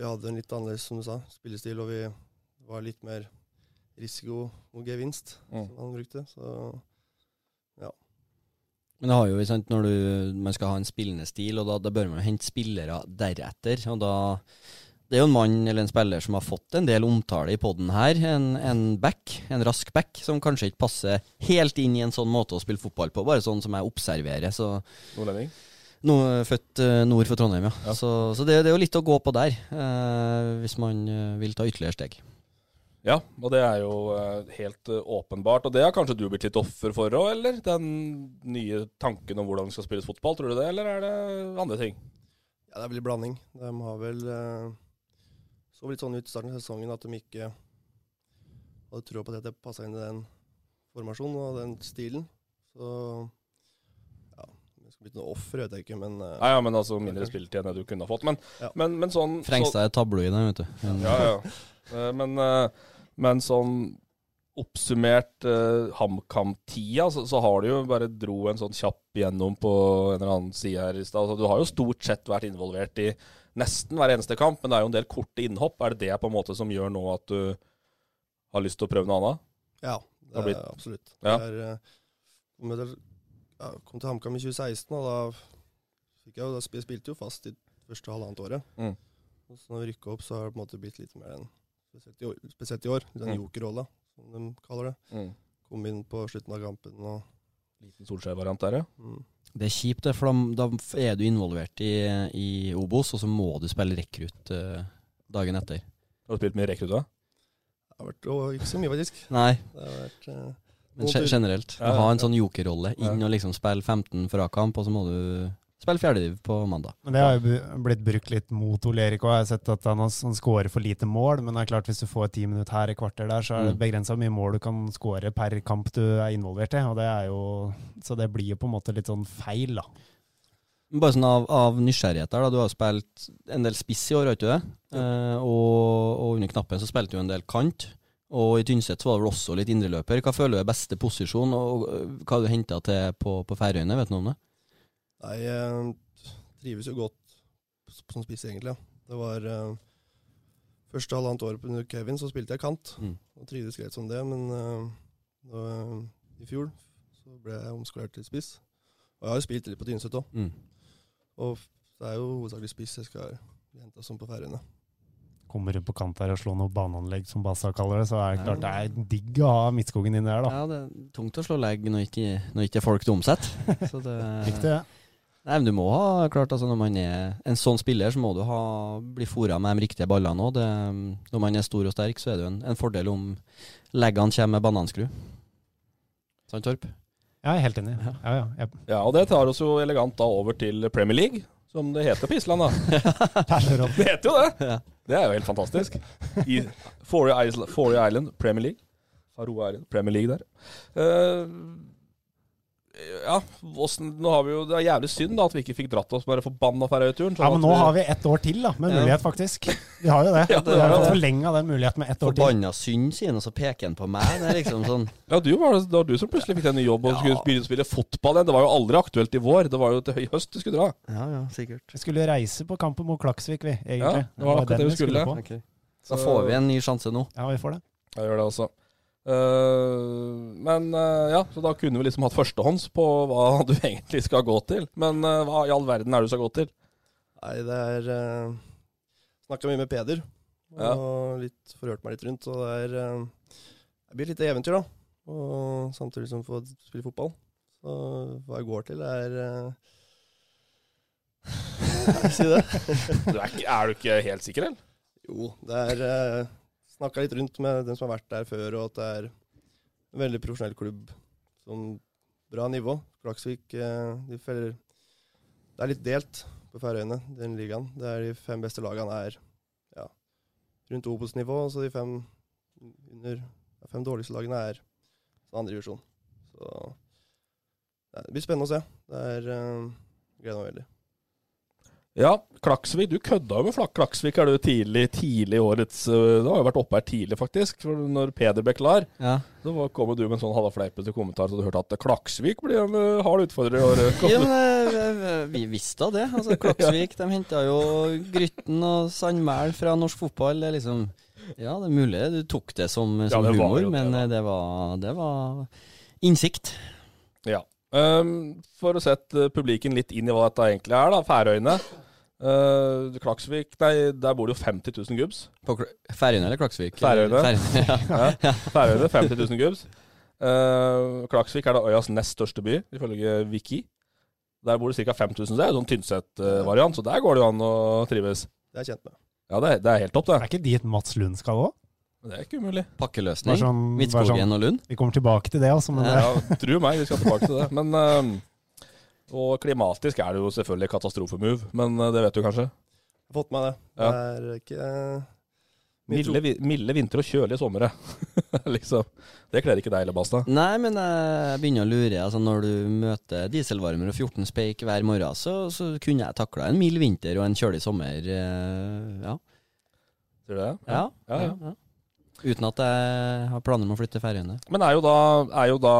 Speaker 6: Vi hadde en litt annerledes, som du sa, spillestil, og vi var litt mer risiko og gevinst,
Speaker 3: Mm.
Speaker 6: som han brukte. Så
Speaker 4: Men det har jo, sant, når du, man skal ha en spillende stil, og da, da bør man jo hente spillere deretter. og da... Det er jo en mann eller en spiller som har fått en del omtale i poden her. En, en back, en rask back, som kanskje ikke passer helt inn i en sånn måte å spille fotball på. Bare sånn som jeg observerer. Så
Speaker 3: nordlending?
Speaker 4: nå, født eh, nord for Trondheim, ja.
Speaker 3: Ja.
Speaker 4: Så, så det, det er jo litt å gå på der, eh, hvis man eh, vil ta ytterligere steg.
Speaker 3: Ja, og det er jo eh, helt eh, åpenbart. Og det har kanskje du blitt litt offer for òg, eller? Den nye tanken om hvordan det skal spilles fotball, tror du det, eller er det andre ting?
Speaker 6: Ja, det er vel en blanding. De har vel eh, så litt sånn ut i starten av sesongen at de ikke hadde trua på at det passa inn i den formasjonen og den stilen. Så ja, det skal bli noe offer, vet jeg ikke, men eh,
Speaker 3: Nei, ja, men altså mindre spilletid enn det du kunne ha fått. Men,
Speaker 6: Ja.
Speaker 3: men, men sånn så-
Speaker 4: Frengstad er tabloid, der, vet du. Men-
Speaker 3: Ja, ja. Eh, Men, eh, men sånn oppsummert eh, HamKam-tida, så, så har du jo bare dro en sånn kjapp gjennom på en eller annen side her i stad. Altså, du har jo stort sett vært involvert i nesten hver eneste kamp, men det er jo en del korte innhopp. Er det det på en måte som gjør nå at du har lyst til å prøve noe annet?
Speaker 6: ja, det
Speaker 3: har
Speaker 6: er,
Speaker 3: blitt-
Speaker 6: absolutt.
Speaker 3: Ja.
Speaker 6: Det er, eh, kom, til, ja, kom til HamKam i 2016, og da fikk jeg jo, da spil, spilte jeg jo fast i første halvannet året.
Speaker 3: Mm.
Speaker 6: Og så når vi rykka opp, så har det på en måte blitt litt mer enn spesielt i år, spesielt i år den
Speaker 3: Mm.
Speaker 6: jokerrolla, som de kaller det. kom inn på slutten av kampen. Og,
Speaker 3: Liten Solskjær-variant der, ja.
Speaker 6: mm.
Speaker 4: Det er kjipt, det, for da, da f- er du involvert i, i Obos, og så må du spille rekrutt eh, dagen etter.
Speaker 3: Du har spilt mye rekrutt, da?
Speaker 6: Det har vært og ikke så mye, faktisk.
Speaker 4: Nei,
Speaker 6: Det har vært, eh,
Speaker 4: men
Speaker 6: Og
Speaker 4: ge-
Speaker 6: du-
Speaker 4: generelt.
Speaker 3: Ja, ja,
Speaker 4: Ha en
Speaker 3: ja.
Speaker 4: sånn jokerrolle. Inn og liksom spille 15 fra kamp, og så må du spille fjerdediv på mandag.
Speaker 5: Men det har jo bu- blitt brukt litt mot Ole Erik òg. Jeg har sett at han, har- han scorer for lite mål, men det er klart hvis du får ti minutter her, et kvarter der, så er det begrensa mye mål du kan score per kamp du er involvert i. Og det er jo, så det blir jo på en måte litt sånn feil, da.
Speaker 4: Men Bare sånn av, av nysgjerrighet der, da. Du har jo spilt en del spiss i år, har ikke du det? Eh, og, og under knappen så spilte du en del kant. Og i Tynset så var det vel også litt indreløper. Hva føler du er beste posisjon, og eh, hva har du henta til på, på Færøyene? Vet du noe om det?
Speaker 6: nei, eh, trives jo godt s- som spiss, egentlig. Ja. Det var eh, første halvannet året under Kevin, så spilte jeg kant.
Speaker 4: Mm.
Speaker 6: Og trivdes greit som det, men eh, da, eh, i fjor så ble jeg omskolert til spiss. Og jeg har jo spilt litt på Tynset òg,
Speaker 4: Mm.
Speaker 6: og f- det er jo hovedsakelig spiss jeg skal bli henta som på Færøyene.
Speaker 5: Kommer du på kant her og slår noe baneanlegg, som Basa kaller det, så er det klart det er digg å ha Midtskogen inni der, da.
Speaker 4: Ja, det er tungt å slå legg når ikke, når ikke folk til omsett. Så det,
Speaker 5: Riktig. det.
Speaker 4: Nei, men du må ha klart, altså, når man er en sånn spiller, så må du ha, bli fora med de riktige ballene òg. Når man er stor og sterk, så er det jo en, en fordel om leggene kommer med bananskru. Sant, Torp?
Speaker 5: Ja, jeg er helt enig. Ja, ja. Jeg
Speaker 3: Ja, og det tar oss jo elegant da over til Premier League, som det heter på Island, da.
Speaker 5: perler opp.
Speaker 3: Det heter jo det!
Speaker 4: Ja.
Speaker 3: Det er jo helt fantastisk. I Forey Island, Forey Island Premier League. Faroe Island, Premier League der. Eh, ja, hvordan, nå har vi jo Det er jævlig synd da at vi ikke fikk dratt oss med den forbanna Ferøya-turen.
Speaker 5: Ja, men nå har vi ett år til, da, med
Speaker 4: Ja.
Speaker 5: mulighet, faktisk. Vi har jo det.
Speaker 3: Ja,
Speaker 5: Vi
Speaker 3: det
Speaker 5: har
Speaker 3: er
Speaker 5: fått
Speaker 3: det.
Speaker 5: forlenga den muligheten med ett år til.
Speaker 4: Forbanna synd, sier han, og så peker han på meg. Det er liksom sånn
Speaker 3: Ja, du var, det var du som plutselig fikk deg ny jobb og skulle begynne å spille fotball igjen. Det var jo aldri aktuelt i vår. Det var jo til i høst du skulle dra.
Speaker 4: Ja, ja, sikkert.
Speaker 5: Vi skulle reise på kampen mot Klaksvik, vi,
Speaker 3: Ja,
Speaker 5: egentlig.
Speaker 3: det var akkurat det vi skulle.
Speaker 5: på.
Speaker 4: Da får vi en ny sjanse nå.
Speaker 5: Ja, vi får det.
Speaker 3: Jeg gjør det også. Eh, men eh, ja, så da kunne vi liksom hatt førstehånds på hva du egentlig skal gå til. Men eh, hva i all verden er det du skal gå til?
Speaker 6: Nei, det er uh, Snakka mye med Peder, og litt forhørte meg litt rundt. Og det er eh, Det blir et lite eventyr, da. Og samtidig som få spille fotball. Så hva jeg går til, er eh, Si det.
Speaker 3: Du er, ikke, er du ikke helt sikker, eller?
Speaker 6: Jo, det er eh, uh, Snakka litt rundt med dem som har vært der før, og at det er en veldig profesjonell klubb. Sånn bra nivå. Klaksvik eh, de feller, Det er litt delt på Færøyene, den ligaen. Det er de fem beste lagene er ja, rundt Obos-nivå, og så de fem, under, de fem dårligste lagene er sånn andre divisjon. Så det blir spennende å se. Det er eh, gleder meg veldig.
Speaker 3: Ja, Klaksvik. Du kødda jo med Flak Klaksvik er det jo tidlig tidlig i årets øh, Det har jo vært oppe her tidlig, faktisk. For når Peder ble klar,
Speaker 4: Ja.
Speaker 3: så var- kom jo du med en sånn halvfleipete kommentar så du hørte at Klaksvik blir en øh, hard utfordrer i år.
Speaker 4: Ja, men eh, eh, vi visste da det. Altså, Klaksvik de henta jo Grytten og Sandmæl fra norsk fotball. Det er liksom, ja, det er mulig du tok det som, som
Speaker 3: det var
Speaker 4: humor,
Speaker 3: jo det,
Speaker 4: men
Speaker 3: da.
Speaker 4: eh, det var, det var innsikt.
Speaker 3: Ja. Ehm, for å sette publikum litt inn i hva dette egentlig er, da. Færøyene. Eh, Klaksvik, nei, der bor det jo 50 000 gubbs.
Speaker 4: På Kl- Færøyene eller Klaksvik?
Speaker 3: Færøyene.
Speaker 4: Færøyene, ja.
Speaker 3: Færøyene, 50 000 gubbs. Eh, Klaksvik er da øyas nest største by, ifølge Wiki. Der bor det ca. 5000, så det er jo sånn Tynset-variant, så der går det jo an å trives.
Speaker 6: Det er jeg kjent med.
Speaker 3: Ja, det er, det er helt topp,
Speaker 5: Er
Speaker 3: det.
Speaker 5: ikke dit Mats Lund skal òg?
Speaker 3: Det er ikke umulig.
Speaker 4: Pakkeløsning.
Speaker 5: sånn, bare
Speaker 4: Midtskogen
Speaker 5: sånn,
Speaker 4: og Lund.
Speaker 5: vi kommer tilbake til det, altså. Men det,
Speaker 3: Ja, tru meg, vi skal tilbake til det. Men eh, Og klimatisk er det jo selvfølgelig katastrofemove, men eh, det vet du kanskje?
Speaker 6: Jeg har fått med det.
Speaker 3: Ja.
Speaker 6: Det er ikke eh, Mye tro-
Speaker 3: Milde, vi- milde vintre og kjølige somre. liksom. Det kler ikke deg heller, Basta.
Speaker 4: Nei, men jeg begynner å lure. Altså, når du møter dieselvarmer og 14 speik hver morgen, så, så kunne jeg takla en mild vinter og en kjølig sommer. eh, Ja.
Speaker 3: Sier du det?
Speaker 4: Ja,
Speaker 3: Ja,
Speaker 4: ja,
Speaker 3: ja.
Speaker 4: ja. Uten at jeg har planer om å flytte til Færøyene.
Speaker 3: Men er jo da, er jo da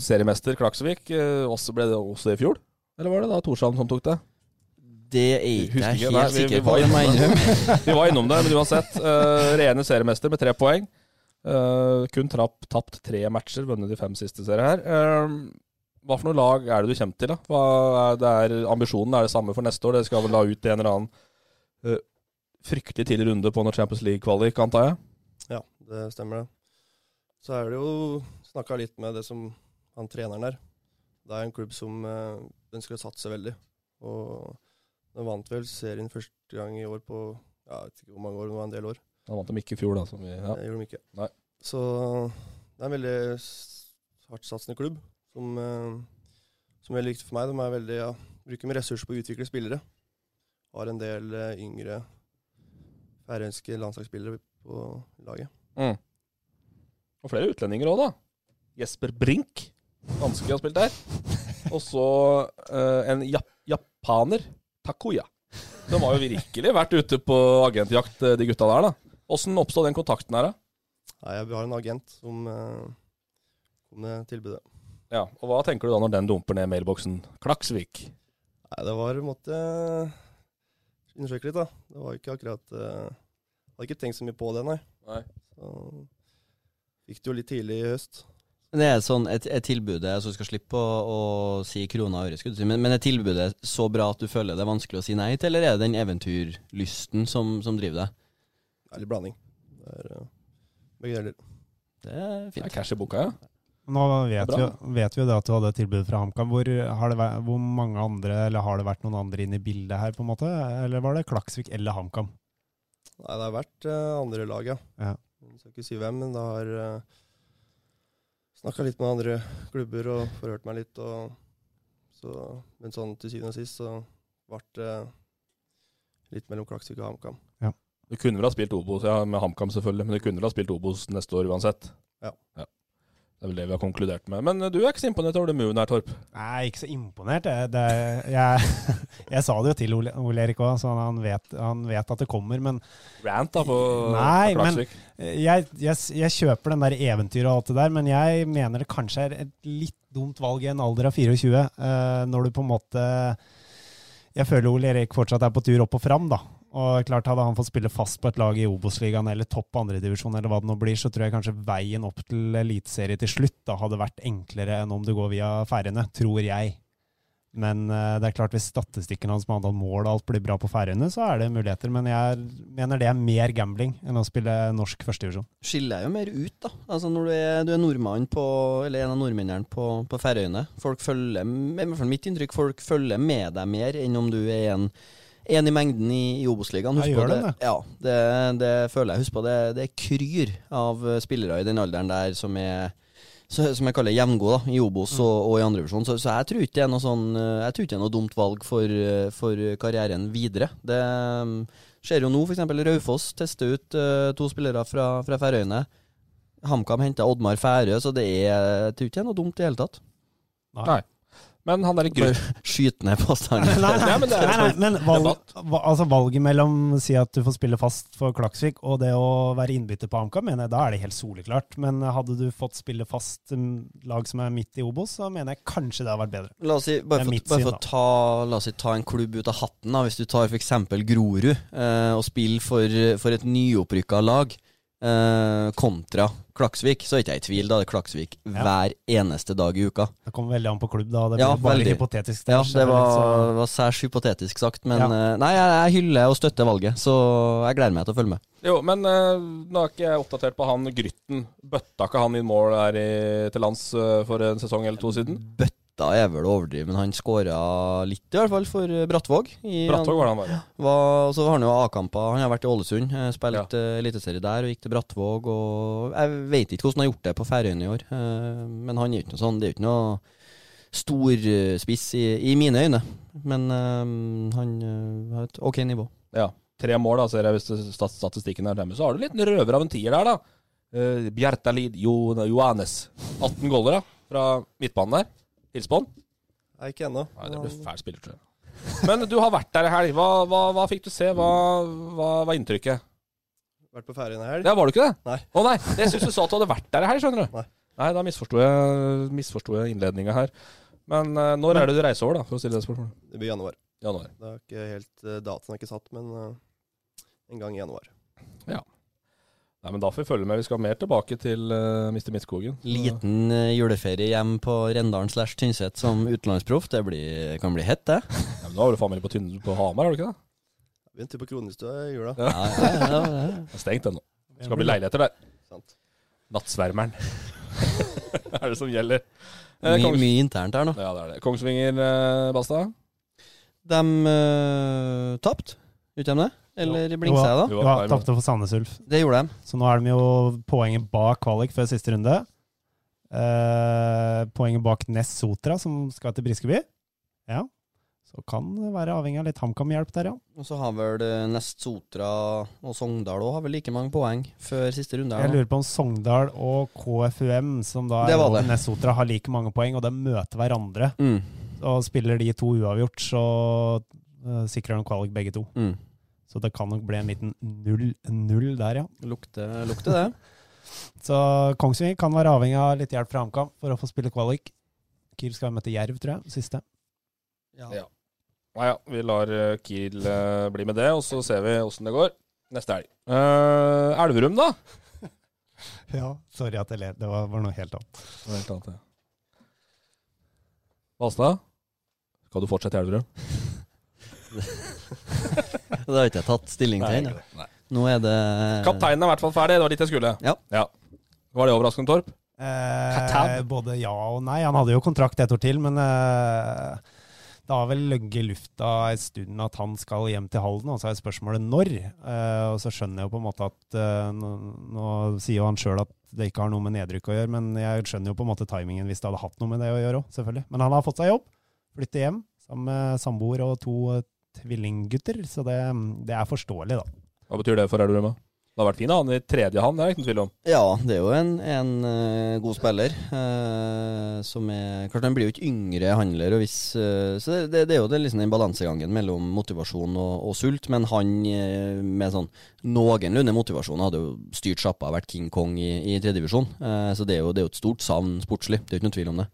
Speaker 3: seriemester Klaksvik. eh, Også ble det også i fjor? Eller var det da Torshavn som tok det?
Speaker 4: Det er ikke
Speaker 3: Husker
Speaker 4: jeg
Speaker 3: ikke,
Speaker 4: helt
Speaker 3: nei, vi- vi
Speaker 4: sikker
Speaker 3: var
Speaker 4: på. det må jeg
Speaker 3: innom
Speaker 4: innrømme.
Speaker 3: Vi var innom det, men uansett. eh, Rene seriemester med tre poeng. Eh, kun trapp, tapt tre matcher, vunnet de fem siste serier her. Eh, hva for noe lag er det du kommer til? da? Hva er, det er, ambisjonen er det samme for neste år. Dere skal vel la ut en eller annen eh, fryktelig tidlig runde på noe Champions League-kvalik, antar jeg?
Speaker 6: Ja, det stemmer det. Så er det jo snakka litt med det som han treneren der. Det er en klubb som eh, den skulle satse veldig. Og den vant vel serien første gang i år på ja, jeg vet ikke hvor mange år, det var en del år.
Speaker 3: Da vant de ikke i fjor, da. Som vi, ja.
Speaker 6: Det gjorde de ikke.
Speaker 3: Nei.
Speaker 6: Så det er en veldig s- hardtsatsende klubb, som, eh, som er veldig viktig for meg. De er veldig, ja, bruker mye ressurser på å utvikle spillere. Har en del eh, yngre færøyske landslagsspillere på laget.
Speaker 3: Og flere utlendinger òg, da. Jesper Brink. Danske har spilt der. Og så eh, en jap japaner. Takuya. De har jo virkelig vært ute på agentjakt, eh, de gutta der, da. Åssen oppstod den kontakten her, da?
Speaker 6: Nei, jeg har en agent som eh, kom med tilbudet.
Speaker 3: Ja, Og hva tenker du da når den dumper ned mailboksen? Klaksvik.
Speaker 6: Nei, det var måtte jeg undersøke litt, da. Det var ikke akkurat eh, Hadde ikke tenkt så mye på det, nei.
Speaker 3: Nei.
Speaker 6: Så gikk det jo litt tidlig i høst.
Speaker 4: Det er sånn et, et tilbud altså Du skal slippe å, å si krone og øre, skulle du si. Men, men er tilbudet så bra at du føler det er vanskelig å si nei til, eller er det den eventyrlysten som, som driver deg?
Speaker 6: Det er litt blanding. Det er eh, begge deler.
Speaker 4: Det er
Speaker 3: Det er
Speaker 4: fint.
Speaker 3: cash i boka, ja.
Speaker 5: nå vet
Speaker 3: Det er
Speaker 5: vi,
Speaker 3: bra.
Speaker 5: vet vi jo det at du hadde et tilbud fra HamKam. Hvor, har det væ- hvor mange andre, eller har det vært noen andre inne i bildet her, på en måte? Eller var det Klaksvik eller HamKam?
Speaker 6: Nei, det har vært eh, andre lag, ja.
Speaker 5: Ja.
Speaker 6: Jeg skal ikke si hvem, men det har uh, snakka litt med andre klubber og forhørt meg litt. Og, så, men sånn til syvende og sist så ble det litt mellom Klaksvik og HamKam.
Speaker 3: Du kunne vel ha spilt Obos, ja, med HamKam selvfølgelig, men du kunne vel ha spilt Obos neste år uansett.
Speaker 6: Ja.
Speaker 3: Det er vel det vi har konkludert med. Men eh, du er ikke så imponert over det moven her, Torp.
Speaker 5: Nei, ikke så imponert. Det, det, jeg, jeg sa det jo til Ole, Ole Erik òg, så han vet, han vet at det kommer. Men
Speaker 3: Rant, da, på,
Speaker 5: Nei,
Speaker 3: på
Speaker 5: men-
Speaker 3: Klaksvik.
Speaker 5: Jeg, jeg, jeg kjøper den der eventyret og alt det der, men jeg mener det kanskje er et litt dumt valg i en alder av 24, eh, når du på en måte Jeg føler Ole Erik fortsatt er på tur opp og fram, da. Og klart Hadde han fått spille fast på et lag i Obos-ligaen eller topp andredivisjon, eller hva det nå blir, så tror jeg kanskje veien opp til eliteserie til slutt da hadde vært enklere enn om du går via Færøyene, tror jeg. Men eh, det er klart hvis statistikken hans med antall mål og alt blir bra på Færøyene, så er det muligheter. Men jeg er, mener det er mer gambling enn å spille norsk førstedivisjon.
Speaker 4: Skiller deg jo mer ut, da. Altså Når du er, du er nordmann på Eller en av nordmennene på, på Færøyene. Folk følger I hvert fall mitt inntrykk, folk følger med deg mer enn om du er en en i mengden i, i Obos-ligaen.
Speaker 5: Ja,
Speaker 4: Husk
Speaker 5: gjør
Speaker 4: på
Speaker 5: den det?
Speaker 4: Ja, det, det føler jeg. Husk på det, det er kryr av eh, spillere i den alderen der som er så, som jeg kaller jevngod, da, i Obos
Speaker 5: Mm.
Speaker 4: og, og i andrevisjon. Så, så jeg tror ikke det er noe sånn eh, Jeg tror ikke det er noe dumt valg for, eh, for karrieren videre. Det mm, skjer jo nå, f.eks. Raufoss tester ut eh, to spillere fra, fra Færøyene. HamKam henta Oddmar Færø, så det er, jeg tror ikke det er noe dumt i det hele tatt.
Speaker 3: Nei. Men han derre Grøt...
Speaker 4: Skyt ned
Speaker 5: Nei,
Speaker 4: påstanden.
Speaker 5: nei, nei,
Speaker 3: Nei, men det er-
Speaker 5: men valg, va- altså valget mellom si at du får spille fast for Klaksvik, og det å være innbytter på HamKam, mener jeg da er det helt soleklart. Men eh, hadde du fått spille fast um, lag som er midt i Obos, så mener jeg kanskje det har vært bedre.
Speaker 4: La oss si, bare
Speaker 5: Det er
Speaker 4: for,
Speaker 5: mitt
Speaker 4: bare
Speaker 5: syn,
Speaker 4: for å ta, la oss si, ta en klubb ut av hatten, da. hvis du tar f.eks. Grorud eh, og spiller for, for et nyopprykka lag eh, kontra Klaksvik, så er ikke jeg i tvil. Da er det Klaksvik
Speaker 5: Ja.
Speaker 4: hver eneste dag i uka.
Speaker 5: Det kommer veldig an på klubb, da. og Det blir
Speaker 4: Ja,
Speaker 5: jo bare
Speaker 4: veldig.
Speaker 5: hypotetisk.
Speaker 4: Ja,
Speaker 5: ellers er
Speaker 4: det
Speaker 5: litt sånn-
Speaker 4: var,
Speaker 5: så-
Speaker 4: var særs hypotetisk sagt, men
Speaker 5: Ja.
Speaker 4: eh, nei, jeg, jeg hyller og støtter valget, så jeg gleder meg til å følge med.
Speaker 3: Jo, men eh, nå er ikke jeg oppdatert på han Grytten. Bøtta ikke han inn mål her i, til lands eh, for en sesong eller to siden?
Speaker 4: Bøtta er vel å overdrive, men han skåra litt, i hvert fall, for eh, Brattvåg. i-
Speaker 3: Brattvåg var det han var.
Speaker 4: Var, og så har han jo A-kamper. Han har vært i Ålesund, eh, spilt eh, eliteserie der og gikk til Brattvåg. Og jeg vet ikke hvordan han har gjort det på Færøyene i år, eh, men han er jo ikke noe sånn Det er jo ikke noe storspiss i, i mine øyne. Men eh, han eh, har et OK nivå.
Speaker 3: Ja. Tre mål, da, ser jeg, hvis det- stat- statistikken er demme. Så har du litt røver av en tier der, da. Uh, Bjertalid jo, Johannes. 18 goller, da, fra midtbanen der. Hils på han.
Speaker 6: Nei, ikke ennå.
Speaker 3: Nei, det blir fæl spiller, tror jeg. Men du har vært der i helg. Hva, hva, hva fikk du se? Hva, hva var inntrykket?
Speaker 6: Vært på Færøyene i helg.
Speaker 3: Ja, var du ikke det?
Speaker 6: Nei.
Speaker 3: Å nei, jeg syns du sa at du hadde vært der i helg, skjønner du.
Speaker 6: Nei.
Speaker 3: Nei, da misforsto jeg, misforsto jeg innledninga her. Men eh, når er det du reiser over, da? For å stille det spørsmålet.
Speaker 6: Det blir januar.
Speaker 3: Januar.
Speaker 6: Det er ikke helt, eh, datoen er ikke satt, men eh, en gang i januar.
Speaker 3: Nei, men da får vi følge med. Vi skal mer tilbake til uh, Mr. Midtskogen.
Speaker 4: Liten eh, juleferie hjem på Rendalen slash Tynset som utenlandsproff. Det blir, kan bli hett, det.
Speaker 3: Ja, men da har du faen meg på, Tynn- på Hamar, har du ikke det?
Speaker 6: Vi er en tur på Kronestua i jula.
Speaker 4: Ja, ja, ja, ja.
Speaker 3: Det er stengt ennå. Det skal bli leiligheter der.
Speaker 6: Sant.
Speaker 3: Nattsvermeren. er det som gjelder. Eh,
Speaker 4: Mye,
Speaker 3: Kongs-
Speaker 4: mye internt her nå.
Speaker 3: ja, det er det. Kongsvinger, eh, Basta?
Speaker 4: De uh, tapte, gjorde de det? Eller blingsa jeg, da?
Speaker 3: Du
Speaker 5: Ja,
Speaker 3: var der,
Speaker 5: tapte for Sandnes Ulf.
Speaker 4: Det gjorde de.
Speaker 5: Så nå er de jo poenget bak kvalik før siste runde. Eh, poenget bak Ness Sotra, som skal til Briskeby. Ja. Så kan det være avhengig av litt HamKam-hjelp der, ja.
Speaker 4: Og så har vel eh, Nest Sotra og Sogndal òg like mange poeng før siste runde.
Speaker 5: Jeg
Speaker 4: her nå.
Speaker 5: lurer på om Sogndal og KFUM, som da
Speaker 4: Det
Speaker 5: er
Speaker 4: var
Speaker 5: over
Speaker 4: det.
Speaker 5: Ness Sotra, har like mange poeng, og de møter hverandre.
Speaker 4: Mm,
Speaker 5: Og spiller de to uavgjort, så eh, sikrer de kvalik begge to.
Speaker 4: mm.
Speaker 5: Så det kan nok bli en liten 0-0 der, ja.
Speaker 4: Lukter, lukter det.
Speaker 5: Så Kongsvinger kan være avhengig av litt hjelp fra HamKam for å få spille kvalik. Kiel skal møte Jerv, tror jeg. Siste.
Speaker 3: Ja. Nei, ja, vi lar eh, Kiel eh, bli med det, og så ser vi åssen det går neste helg. Eh, Elverum, da?
Speaker 5: Ja, sorry at jeg ler. Det var, var noe helt annet.
Speaker 3: Basta? Skal du fortsette i Elverum?
Speaker 4: Det har ikke jeg tatt stilling til ennå. Nå er det
Speaker 3: Kapteinen er i hvert fall ferdig. Det var dit jeg skulle.
Speaker 4: Ja.
Speaker 3: Var det overraskende, Torp?
Speaker 5: Eh,
Speaker 3: Katab?
Speaker 5: både ja og nei. Han hadde jo kontrakt et år til, men eh, det har vel ligget i lufta en stund at han skal hjem til Halden, og så er spørsmålet når. Eh, og så skjønner jeg jo på en måte at eh, nå, nå sier jo han sjøl at det ikke har noe med nedrykk å gjøre, men jeg skjønner jo på en måte timingen hvis det hadde hatt noe med det å gjøre òg, selvfølgelig. Men han har fått seg jobb, flytter hjem sammen med samboer og to eh, tvillinggutter, så det, mm, det er forståelig, da.
Speaker 3: Hva betyr det for Elverum? da? Det har vært fin, da. Han i tredje han, det er det ikke noen tvil om.
Speaker 4: Ja, det er jo en, en eh, god spiller. eh, som er Klart, han blir jo ikke yngre handler, og hvis eh, Så det, det, det er jo det, liksom den balansegangen mellom motivasjon og, og sult. Men han eh, med sånn noenlunde motivasjon hadde jo styrt sjappa, vært King Kong i, i tredjevisjon. Uh, så det er, jo, det er jo et stort savn sportslig. Det er jo ikke noe tvil om det.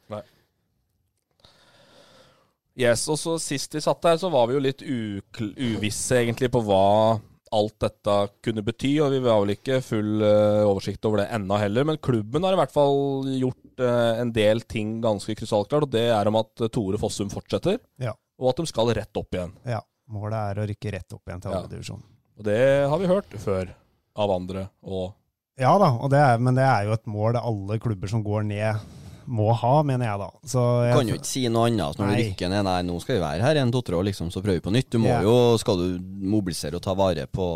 Speaker 3: Yes, og så Sist vi satt der, så var vi jo litt ukl uvisse egentlig på hva alt dette kunne bety. og Vi har vel ikke full eh, oversikt over det ennå heller, men klubben har i hvert fall gjort eh, en del ting ganske krystallklart. og Det er om at eh, Tore Fossum fortsetter,
Speaker 5: Ja.
Speaker 3: og at de skal rett opp igjen.
Speaker 5: Ja. Målet er å rykke rett opp igjen til
Speaker 3: Ja.
Speaker 5: andredivisjon.
Speaker 3: Og Det har vi hørt før av andre. og
Speaker 5: Ja da, og det er, men det er jo et mål alle klubber som går ned må ha, mener jeg da. Så jeg,
Speaker 4: kan jo ikke si noe annet altså, når du
Speaker 5: Nei.
Speaker 4: rykker ned. Nei, nå skal vi være her en, to, tre år, liksom, så prøver vi på nytt. Du må
Speaker 5: Ja.
Speaker 4: jo, skal du mobilisere og ta vare på,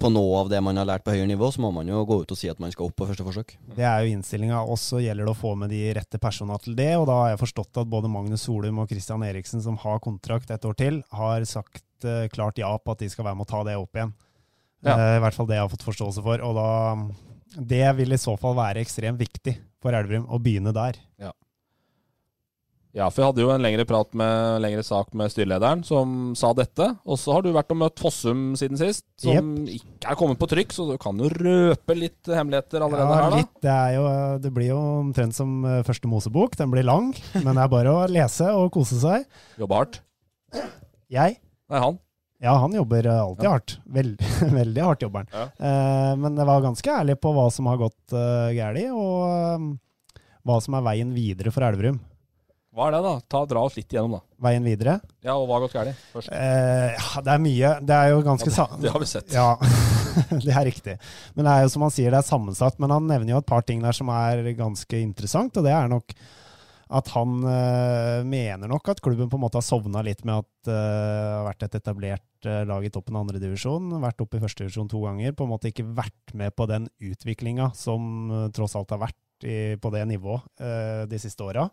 Speaker 4: på noe av det man har lært på høyere nivå, så må man jo gå ut og si at man skal opp på første forsøk.
Speaker 5: Det er jo innstillinga. Og så gjelder det å få med de rette personene til det. Og da har jeg forstått at både Magnus Solum og Christian Eriksen, som har kontrakt et år til, har sagt eh, klart ja på at de skal være med å ta det opp igjen.
Speaker 3: Ja.
Speaker 5: Eh, I hvert fall det jeg har fått forståelse for. Og da Det vil i så fall være ekstremt viktig for Elverum å begynne der.
Speaker 3: Ja, for jeg hadde jo en lengre prat med lengre sak med styrelederen, som sa dette. Og så har du vært og møtt Fossum siden sist, som ikke er kommet på trykk, så du kan jo røpe litt hemmeligheter allerede
Speaker 5: Ja,
Speaker 3: her, da.
Speaker 5: litt. Det, er jo, det blir jo omtrent som eh, første Mosebok. Den blir lang, men det er bare å lese og kose seg.
Speaker 3: Jobbe hardt.
Speaker 5: Jeg
Speaker 3: Nei, han.
Speaker 5: Ja, han jobber eh, alltid hardt. Vel- veldig hardt jobber han. Eh, men jeg var ganske ærlig på hva som har gått uh, galt, og eh, hva som er veien videre for Elverum.
Speaker 3: Hva er det, da? Ta, dra oss litt igjennom, da.
Speaker 5: Veien videre?
Speaker 3: Ja, og hva har gått galt? Først.
Speaker 5: Eh, ja, det er mye. Det er jo ganske sa
Speaker 3: Det har vi sett.
Speaker 5: Ja, det er riktig. Men det er jo som han sier, det er sammensatt. Men han nevner jo et par ting der som er ganske interessant, og det er nok at han eh, mener nok at klubben på en måte har sovna litt med at eh, det har vært et etablert eh, lag i toppen av andredivisjon, vært oppe i førstedivisjon to ganger, på en måte ikke vært med på den utviklinga som eh, tross alt har vært i, på det nivået eh, de siste åra.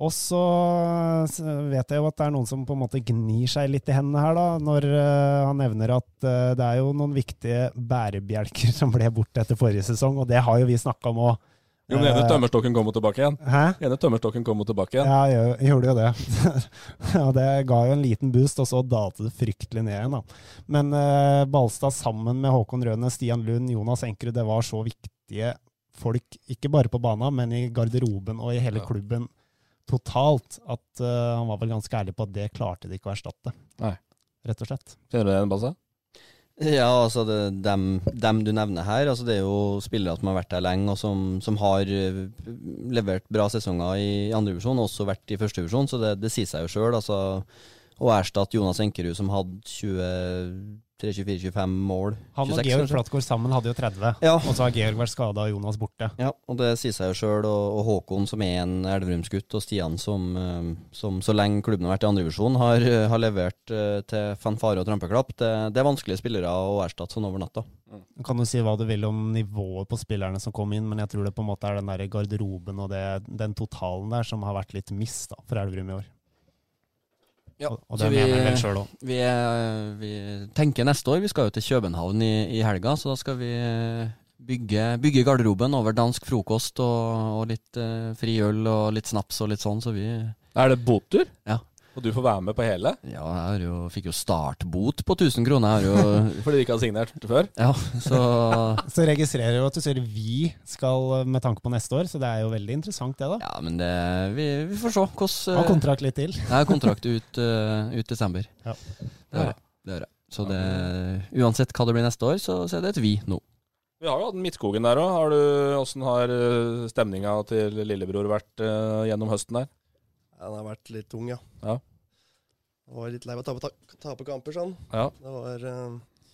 Speaker 5: Og så eh, s- vet jeg jo at det er noen som på en måte gnir seg litt i hendene her, da, når eh, han nevner at eh, det er jo noen viktige bærebjelker som ble borte etter forrige sesong, og det har jo vi snakka om òg.
Speaker 3: Jo, men ene tømmerstokken kommer tilbake igjen.
Speaker 5: Hæ?
Speaker 3: Ene tømmerstokken kommer tilbake igjen.
Speaker 5: Ja, jeg gjør- gjorde jo det. ja, det ga jo en liten boost, og så dalte det fryktelig ned igjen. da. Men eh, Balstad sammen med Håkon Røne, Stian Lund, Jonas Enkerud, det var så viktige folk, ikke bare på banen, men i garderoben og i hele klubben totalt, at eh, han var vel ganske ærlig på at det klarte de ikke å erstatte.
Speaker 3: Nei.
Speaker 5: Rett og slett.
Speaker 3: Kjenner du det igjen, Basse?
Speaker 4: Ja, altså det, dem, dem du nevner her, altså det er jo spillere som har vært der lenge, og som, som har eh, levert bra sesonger i andredivisjon, og også vært i førstedivisjon, så det, det sier seg jo sjøl. Altså, å erstatte Jonas Enkerud, som hadde 23-24-25 mål
Speaker 5: Han og
Speaker 4: 26,
Speaker 5: Georg
Speaker 4: kanskje?
Speaker 5: Flatgård sammen hadde jo 30,
Speaker 4: Ja.
Speaker 5: og så har Georg vært skada og Jonas borte.
Speaker 4: Ja, og det sier seg jo sjøl. Og, og Håkon, som er en Elverumsgutt, og Stian, som, eh, som så lenge klubben har vært i andredivisjon, har, eh, har levert eh, til fanfare og trampeklapp. Det, det er vanskelige spillere å erstatte sånn over natta.
Speaker 5: Du kan jo si hva du vil om nivået på spillerne som kom inn, men jeg tror det på en måte er den der garderoben og det, den totalen der som har vært litt miss da, for Elverum i år. og, og det
Speaker 4: så vi-
Speaker 5: mener jeg vel sjøl òg.
Speaker 4: Vi, er, vi tenker neste år. Vi skal jo til København i, i helga, så da skal vi eh, bygge, bygge garderoben over dansk frokost og, og litt eh, fri øl og litt snaps og litt sånn, så vi
Speaker 3: Er det båttur?
Speaker 4: Ja.
Speaker 3: Og du får være med på hele?
Speaker 4: Ja, jeg har jo, fikk jo startbot på 1000 kroner. Jeg har jo
Speaker 3: Fordi du ikke har signert før?
Speaker 4: Ja, så
Speaker 5: Så registrerer jeg jo at du sier vi skal med tanke på neste år, så det er jo veldig interessant det, da.
Speaker 4: Ja, men det Vi, vi får se
Speaker 5: Ha
Speaker 4: hvordan eh,
Speaker 5: kontrakt litt til.
Speaker 4: Jeg har kontrakt ut, eh, ut desember.
Speaker 5: Ja.
Speaker 4: Det har jeg. Det har jeg. Så det, uansett hva det blir neste år, så, så er det et vi nå.
Speaker 3: Vi har jo hatt Midtskogen der òg. Åssen har eh, stemninga til lillebror vært eh, gjennom høsten der?
Speaker 6: Ja, Den har vært litt tung, ja.
Speaker 3: Ja.
Speaker 6: Jeg var litt lei av å tape, ta- tape kamper, sånn.
Speaker 3: Ja.
Speaker 6: Det var eh, nei,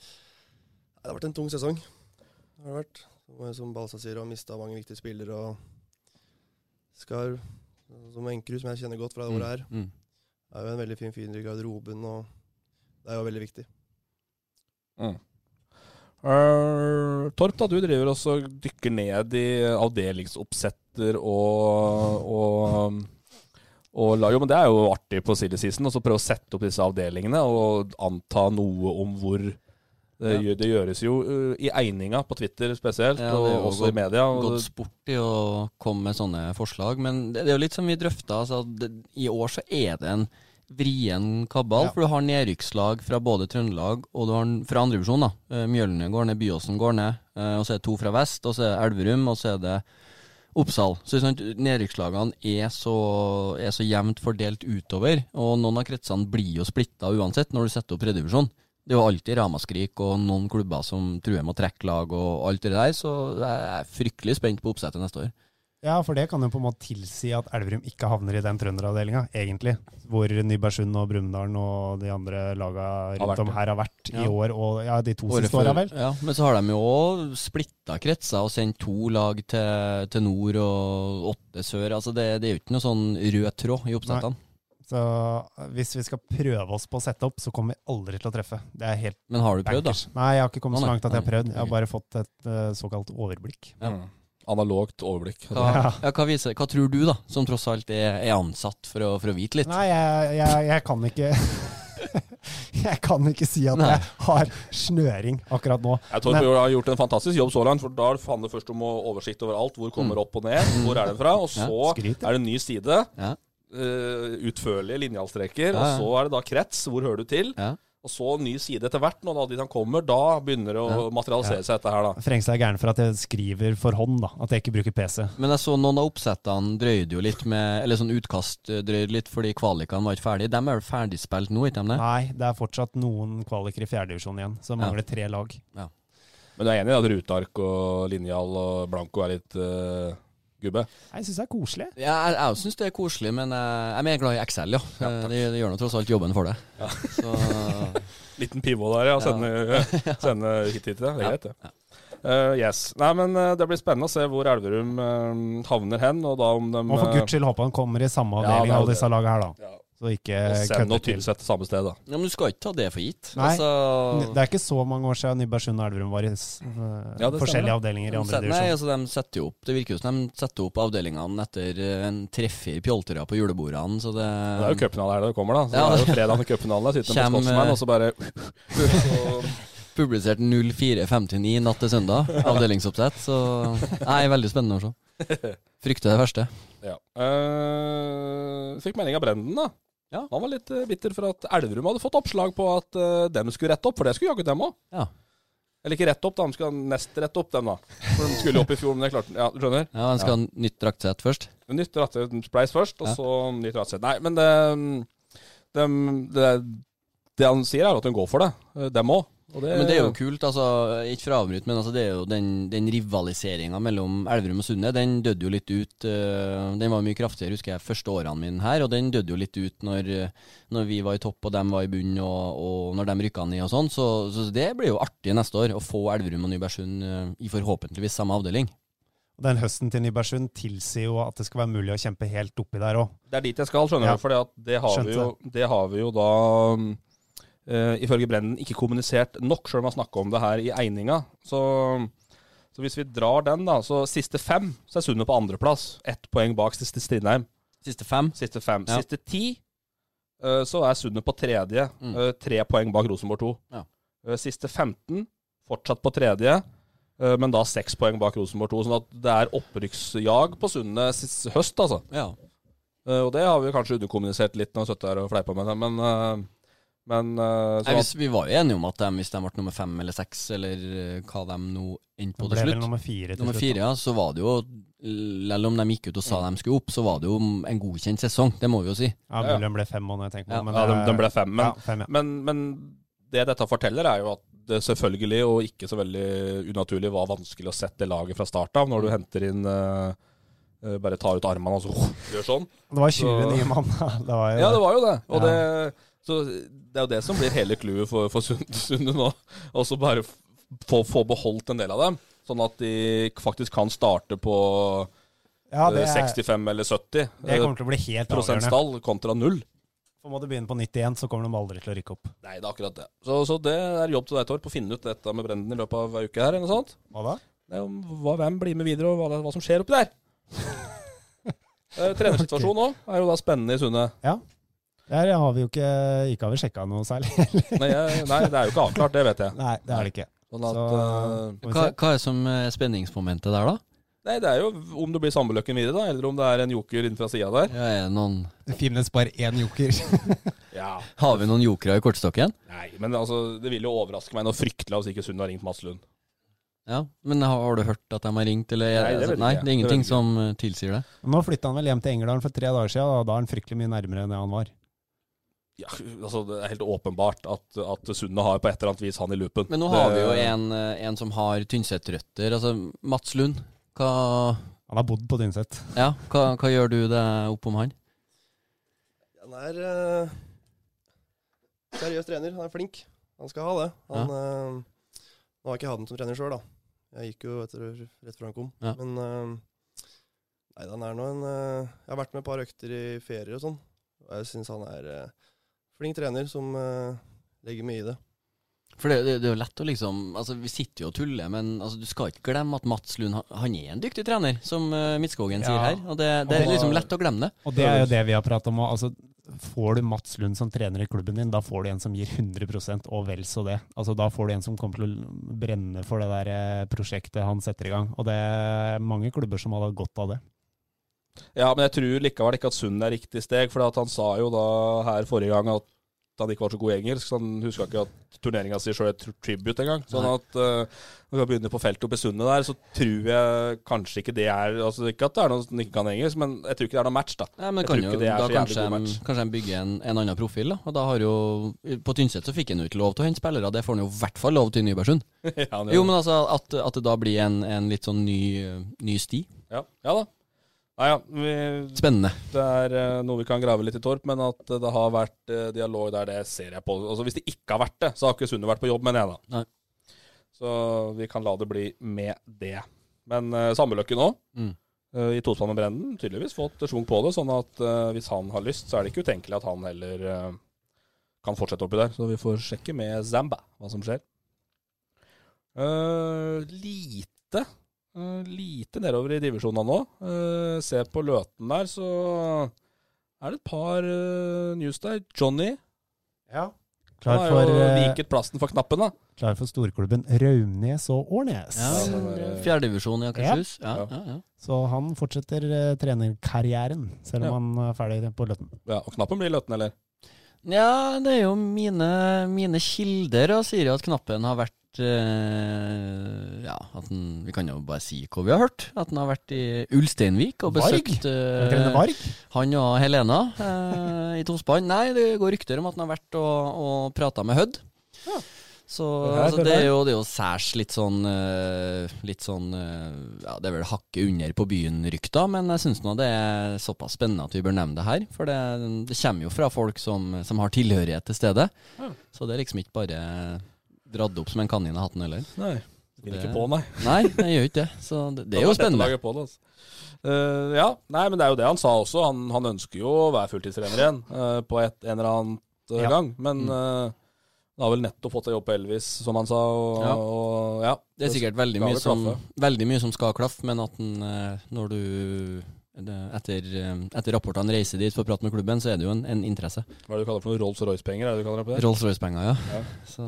Speaker 6: Det har vært en tung sesong. Det har det vært. Og Som Balsa sier, har mista mange viktige spillere. Og Skar, som Enkerud, som jeg kjenner godt fra det året her,
Speaker 4: Mm.
Speaker 6: er jo en veldig fin fyr i garderoben. og Det er jo veldig viktig.
Speaker 3: Eh, Torp, da, du driver også og dykker ned i avdelingsoppsetter og, og, og la- Jo, men det er jo artig på silly season, og så prøve å sette opp disse avdelingene og anta noe om hvor det, gjø- det gjøres jo eh, i egninga på Twitter spesielt,
Speaker 4: Ja, det er jo
Speaker 3: og også
Speaker 4: godt-
Speaker 3: i media. Og,
Speaker 4: Gått sport i å komme med sånne forslag, men det, det er jo litt som vi drøfta. Altså, det, I år så er det en vrien kabal,
Speaker 5: Ja.
Speaker 4: for du har nedrykkslag fra både Trøndelag og du har den fra andrevisjon. Mjølne Eh, går ned, Byåsen går ned, eh, og så er det to fra vest, og så er det Elverum, og så er det Oppsal. Så sånn, at Nedrykkslagene er så, er så jevnt fordelt utover, og noen av kretsene blir jo splitta uansett når du setter opp tredjevisjon. Det er jo alltid ramaskrik og noen klubber som truer med å trekke lag og alt det der, så jeg er fryktelig spent på oppsettet neste år.
Speaker 5: Ja, for det kan jo på en måte tilsi at Elverum ikke havner i den trønderavdelinga, egentlig. Hvor Nybergsund og Brumunddal og de andre laga
Speaker 3: vært
Speaker 5: rundt om
Speaker 3: det.
Speaker 5: her har vært i
Speaker 4: Ja.
Speaker 5: år, og ja, de to
Speaker 4: Året
Speaker 5: siste åra,
Speaker 4: før-
Speaker 5: vel.
Speaker 4: Ja, men så har de jo òg splitta kretser og sendt to lag til, til nord og åtte sør. Altså det, det er jo ikke noe sånn rød tråd i oppsettene.
Speaker 5: Så eh, hvis vi skal prøve oss på å sette opp, så kommer vi aldri til å treffe. Det er helt
Speaker 4: Men har du prøvd, da?
Speaker 5: bankers. Nei, jeg har ikke kommet
Speaker 4: Å,
Speaker 5: så
Speaker 4: nei.
Speaker 5: langt at jeg har
Speaker 4: Nei,
Speaker 5: prøvd. Jeg har
Speaker 4: ok.
Speaker 5: bare fått et eh, såkalt overblikk.
Speaker 4: Ja.
Speaker 3: Mm. Analogt overblikk.
Speaker 4: Hva, ja, hva, viser, hva tror du, da, som tross alt er, er ansatt for å, for å vite litt?
Speaker 5: Nei, jeg, jeg, jeg kan ikke Jeg kan ikke si at
Speaker 4: Nei.
Speaker 5: jeg har snøring akkurat nå.
Speaker 3: Jeg tror du har gjort en fantastisk jobb så langt, for da handler det først om å ha oversikt over alt. Hvor
Speaker 4: Mm.
Speaker 3: kommer det opp og ned? Hvor er det fra? Og så
Speaker 5: Ja, skryt, ja.
Speaker 3: er det en ny side.
Speaker 4: Ja.
Speaker 3: eh, utførlige linjalstreker.
Speaker 4: Ja,
Speaker 3: Og
Speaker 4: ja.
Speaker 3: så er det da krets. Hvor hører du til?
Speaker 4: Ja.
Speaker 3: Og så en ny side etter hvert. Når da dit han kommer, da begynner det å materialisere seg, dette her, da.
Speaker 5: Frengstad er gæren for at jeg skriver for hånd, da. At jeg ikke bruker PC.
Speaker 4: Men jeg så noen av oppsettene drøyde jo litt med Eller sånn utkast eh, drøyde litt fordi kvalikene var ikke ferdige. De er vel ferdigspilt nå, ikke de det?
Speaker 5: Nei, det er fortsatt noen kvaliker i fjerdedivisjon igjen, så det
Speaker 4: Ja.
Speaker 5: mangler tre lag.
Speaker 3: Men du er enig i at ruteark og linjal og blanko er litt eh, gubbe?
Speaker 5: Jeg syns det er koselig.
Speaker 4: Ja, jeg jeg syns det er koselig, men jeg, jeg er mer glad i Excel, ja. Eh, det, det gjør nå tross alt jobben for det. Så
Speaker 3: Liten pivot der, ja. Sende, sende hit hit. ja. Det er greit, det. Eh, yes. Nei, men eh, det blir spennende å se hvor Elverum eh, havner hen, og da om de
Speaker 5: Må for
Speaker 3: eh,
Speaker 5: guds skyld håpe han kommer i
Speaker 3: Ja,
Speaker 5: samme
Speaker 3: det
Speaker 5: avdeling,
Speaker 3: er jo
Speaker 5: alle disse
Speaker 3: det.
Speaker 5: laga her, da.
Speaker 3: Ja.
Speaker 5: Så ikke
Speaker 3: Og eh, send
Speaker 5: kødder
Speaker 3: og tilsett til samme sted, da.
Speaker 4: Ja, men du skal ikke ta det for gitt.
Speaker 5: Nei.
Speaker 4: Altså,
Speaker 5: Det er ikke så mange år siden Nybergsund og Elverum var i s- eh,
Speaker 3: Mhm. Ja, det stemmer,
Speaker 5: forskjellige
Speaker 3: ja.
Speaker 5: avdelinger i
Speaker 4: de
Speaker 5: andre
Speaker 4: set- nei,
Speaker 5: divisjon.
Speaker 4: altså, de setter jo opp Det virker jo som de setter opp avdelingene etter eh, en treffer pjolterer på julebordene, så det
Speaker 3: Det er jo cupfinale her det kommer, da. Så
Speaker 4: Um, Ja,
Speaker 3: det er
Speaker 4: det-
Speaker 3: jo fredag med cupfinale. Sitter
Speaker 4: Kjem,
Speaker 3: med Scotsman,
Speaker 4: eh,
Speaker 3: og så bare
Speaker 4: publisert 04.59 natt til søndag. Avdelingsoppsett. Så Nei, veldig spennende å se. Frykter det verste.
Speaker 3: ja. Eh, fikk melding av Brenden, da.
Speaker 4: Ja.
Speaker 3: Han var litt eh, bitter for at Elverum hadde fått oppslag på at eh, dem skulle rette opp, for det skulle jaggu dem òg.
Speaker 4: Ja.
Speaker 3: Eller ikke rette opp, da. De skal nest rette opp, dem, da. For de skulle jo opp i fjor, men det klarte Ja, du skjønner?
Speaker 4: Ja, En skal ha nytt draktsett først.
Speaker 3: Nytt rattsett, spleis først, og
Speaker 4: Ja.
Speaker 3: så nytt rattsett. Nei, men det, mm, dem- det Det han sier, er at de går for det, eh, dem òg.
Speaker 4: Men det er jo kult, altså. Ikke for å avbryte, men altså, det er jo den, den rivaliseringa mellom Elverum og Sunne, den døde jo litt ut. eh, Den var mye kraftigere, husker jeg, første årene mine her, og den døde jo litt ut når, eh, når vi var i topp og dem var i bunn, og, og når de rykka ned og sånn. Så, så det blir jo artig neste år, å få Elverum og Nybergsund eh, i forhåpentligvis samme avdeling.
Speaker 5: Den høsten til Nybergsund tilsier jo at det skal være mulig å kjempe helt oppi der òg.
Speaker 3: Det er dit jeg skal, skjønner
Speaker 5: Ja.
Speaker 3: du. For det, har vi
Speaker 5: Skjønte
Speaker 3: jo- det har vi jo da mm, eh, ifølge Brennen ikke kommunisert nok, sjøl om han snakker om det her i Eininga. Så, så hvis vi drar den, da, så siste fem, så er Sundet på andreplass. Ett poeng bak siste Strindheim.
Speaker 4: Siste fem.
Speaker 3: Siste fem.
Speaker 4: Ja.
Speaker 3: Siste ti, eh, så er Sundet på tredje.
Speaker 4: Mm.
Speaker 3: eh, Tre poeng bak Rosenborg 2.
Speaker 4: Ja.
Speaker 3: Eh, Siste 15, fortsatt på tredje. eh, Men da seks poeng bak Rosenborg 2. Sånn at det er opprykksjag på Sundet sist høst, altså.
Speaker 4: Ja.
Speaker 3: Eh, Og det har vi kanskje underkommunisert litt når vi har sittet her og fleipa med det, men, eh, men eh, så
Speaker 4: Nei, hvis, vi var jo enige om at de, hvis de ble nummer fem eller seks, eller eh, hva de nå endte
Speaker 5: Det
Speaker 4: på til
Speaker 5: ble
Speaker 4: slutt
Speaker 5: vel nummer fire til
Speaker 4: Nummer
Speaker 5: slutt.
Speaker 4: fire, ja, så var det jo Selv om de gikk ut og sa de skulle opp, så var det jo mm, en godkjent sesong. Det må vi jo si.
Speaker 3: Ja,
Speaker 5: Ja,
Speaker 3: ja.
Speaker 5: mulig den ble fem, må jeg tenke
Speaker 4: Ja.
Speaker 5: på. men
Speaker 3: ja, de,
Speaker 5: det er-
Speaker 3: de ble fem. Men,
Speaker 5: ja, fem, ja.
Speaker 3: men, men det dette forteller, er jo at det selvfølgelig, og ikke så veldig unaturlig, var vanskelig å sette laget fra start av, når du henter inn eh, eh, bare tar ut armene og så gjør sånn.
Speaker 5: Det var
Speaker 3: Så-
Speaker 5: 20 nye mann. da. Det var jo
Speaker 3: Ja, det var jo det. Og
Speaker 5: Ja.
Speaker 3: det, så det er jo det som blir hele clouet for, for Sund- Sunde nå. Og så bare f- få, få beholdt en del av dem, sånn at de faktisk kan starte på
Speaker 5: Ja,
Speaker 3: eh,
Speaker 5: det, er-
Speaker 3: 65 eller 70
Speaker 5: det
Speaker 3: eh,
Speaker 5: kommer til å bli helt avgjørende.
Speaker 3: prosentstall kontra null.
Speaker 5: For må du begynne på nytt igjen, så kommer de aldri til å rykke opp.
Speaker 3: Nei, det er akkurat det. Så, så det er jobb til deg, Torp, å finne ut dette med Brenden i løpet av ei uke her, eller noe sånt.
Speaker 5: Hva da?
Speaker 3: Det er om hva, hvem blir med videre, og hva, det- hva som skjer oppi der. Eh, Trenersituasjonen òg er jo da spennende i Sunne.
Speaker 5: Der har vi jo ikke Ikke har vi sjekka noe særlig.
Speaker 3: Nei, jeg, nei, det er jo ikke avklart, det vet jeg.
Speaker 5: Nei, det er det ikke.
Speaker 3: Sånn at,
Speaker 5: Så-
Speaker 3: eh,
Speaker 5: Får vi
Speaker 4: Hva,
Speaker 5: se.
Speaker 4: hva er som er spenningsmomentet der, da?
Speaker 3: nei, det er jo om det blir Sambeløkken videre, da, eller om det er en joker innenfor sida der.
Speaker 4: Ja, er det noen,
Speaker 7: Det finnes bare én joker.
Speaker 3: Ja,
Speaker 4: har vi noen jokere i kortstokken?
Speaker 3: nei, men altså, det vil jo overraske meg noe fryktelig hvis ikke Sunde har ringt Mats Lund.
Speaker 4: Ja, Men har, har du hørt at de har ringt, eller?
Speaker 3: Nei, det vet jeg
Speaker 4: nei,
Speaker 3: ikke. Det
Speaker 4: det er
Speaker 3: vet jeg
Speaker 4: ingenting
Speaker 3: ikke.
Speaker 4: som eh, tilsier det?
Speaker 5: Nå flytta han vel hjem til Engerdalen for tre dager siden, og da er han fryktelig mye nærmere enn det han var.
Speaker 3: Ja, altså, det er helt åpenbart at, at Sunde har på et eller annet vis han i loopen.
Speaker 4: Men nå har vi
Speaker 3: Det-
Speaker 4: jo en, eh, en som har Tynset-røtter, altså Mats Lund. Hva
Speaker 5: Han Han har bodd på Tynset.
Speaker 4: Ja, hva, hva gjør du det opp om han?
Speaker 6: Han er eh, seriøs trener. Han er flink. Han skal ha det. Han, eh, nå har jeg ikke hatt ham som trener sjøl, da. Jeg gikk jo etter rett før han kom.
Speaker 4: Ja.
Speaker 6: Men eh, nei, han er nå en eh, Jeg har vært med et par økter i ferier og sånn. Og jeg syns han er eh, flink trener som eh, legger mye i det.
Speaker 4: For det, det, det er jo lett å liksom Altså, vi sitter jo og tuller, men altså, du skal ikke glemme at Mats Lund han- han er en dyktig trener, som eh, Midtskogen
Speaker 5: Ja.
Speaker 4: sier her. Og det, det er
Speaker 5: Og-
Speaker 4: liksom lett å glemme det.
Speaker 5: Og det er jo det vi har pratet om. og Altså, får du Mats Lund som trener i klubben din, da får du en som gir 100 og vel så det. Altså, da får du en som kommer til å brenne for det der eh, prosjektet han setter i gang. Og det er mange klubber som hadde hatt godt av det.
Speaker 3: Ja, men jeg tror likevel ikke at Sund er riktig steg, for at han sa jo da her forrige gang at han ikke var så god i engelsk, så han huska ikke at turneringa si sjøl er tr- tribute engang. Sånn
Speaker 4: Nei.
Speaker 3: at eh, når vi begynner på feltet oppe i sundet der, så tror jeg kanskje ikke det er Altså ikke at det er noe som ikke kan engelsk, men jeg tror ikke det er noe match, da.
Speaker 4: Nei, men
Speaker 3: Jeg
Speaker 4: kan
Speaker 3: tror
Speaker 4: jo,
Speaker 3: ikke det er
Speaker 4: da
Speaker 3: så jævlig
Speaker 4: kanskje
Speaker 3: god
Speaker 4: de,
Speaker 3: match.
Speaker 4: kanskje de bygger en, en annen profil, da. Og da har jo På Tynset så fikk han jo ikke lov til å hente spillere, det får han jo i hvert fall lov til i Nybergsund.
Speaker 3: ja, han gjør
Speaker 4: Jo,
Speaker 3: det.
Speaker 4: men altså at, at det da blir en, en litt sånn ny, ny sti.
Speaker 3: ja, ja da. Nei, ja, vi,
Speaker 4: Spennende.
Speaker 3: det er eh, noe vi kan grave litt i Torp, men at eh, det har vært eh, dialog der, det ser jeg på. Altså, hvis det ikke har vært det, så har ikke Sunde vært på jobb, mener jeg da.
Speaker 4: Nei.
Speaker 3: Så vi kan la det bli med det. Men uh, Sammeløkken òg,
Speaker 4: Mm.
Speaker 3: eh, i tospann med Brenden, tydeligvis fått svung på det. Sånn at eh, hvis han har lyst, så er det ikke utenkelig at han heller eh, kan fortsette oppi der. Så vi får sjekke med Zamba hva som skjer. Eh, lite eh, lite nedover i divisjonene nå. Eh, se på Løten der, så er det et par eh, news der. Johnny
Speaker 5: Ja.
Speaker 3: han
Speaker 5: Klar
Speaker 3: har
Speaker 5: for,
Speaker 3: jo
Speaker 5: eh,
Speaker 3: viket plassen for knappen, da.
Speaker 5: klar for storklubben Raumnes og Årnes.
Speaker 4: Ja,
Speaker 3: Ja, det er-
Speaker 4: Fjerdedivisjon i Akershus. Ja, ja, ja.
Speaker 5: Så han fortsetter eh, trenerkarrieren, selv om han er ferdig på Løtten.
Speaker 3: Ja, og knappen blir Løten, eller?
Speaker 4: Ja, det er jo mine, mine kilder og sier jo at knappen har vært eh, Ja, at den, vi kan jo bare si hva vi har hørt. At den har vært i Ulsteinvik og
Speaker 5: Varg?
Speaker 4: besøkt
Speaker 5: Er det ikke denne
Speaker 4: eh,
Speaker 5: Varg?
Speaker 4: han og Helena eh, i tospann. Nei, det går rykter om at han har vært og, og prata med Hødd. Så
Speaker 5: Det her
Speaker 4: altså,
Speaker 5: føler
Speaker 4: det, er
Speaker 5: jeg.
Speaker 4: jo, det er jo særs litt sånn eh, Litt sånn eh, Ja, det er vel hakket under på byen-rykta, men jeg syns nå det er såpass spennende at vi bør nevne det her. For det, det kommer jo fra folk som, som har tilhørighet til stedet. Så det er liksom ikke bare dratt opp som en kanin av hatten heller.
Speaker 3: Nei. Vil
Speaker 4: Det-
Speaker 3: ikke på, nei.
Speaker 4: Nei, det gjør ikke det. Så det, det er
Speaker 3: Da må
Speaker 4: jo
Speaker 3: dette
Speaker 4: spennende.
Speaker 3: laget På det, altså. Eh, ja, nei, men det er jo det han sa også. Han, han ønsker jo å være fulltidstrener igjen eh, på et, en eller annen eh,
Speaker 5: Ja.
Speaker 3: gang. Men eh, han har vel nettopp fått seg jobb på Elvis, som han sa. Og,
Speaker 4: Ja.
Speaker 3: og, ja.
Speaker 4: Det er sikkert veldig
Speaker 3: skal
Speaker 4: mye,
Speaker 3: det
Speaker 4: som,
Speaker 3: klaffe.
Speaker 4: veldig mye som skal klaffe, men at den, eh, når du eh, etter, eh, etter rapportene reiser dit for å prate med klubben, så er det jo en, en interesse.
Speaker 3: Hva er det du kaller det for noe Rolls-Royce-penger? er det du kaller det på det?
Speaker 4: Rolls-Royce-penger, ja.
Speaker 3: Ja.
Speaker 4: Så,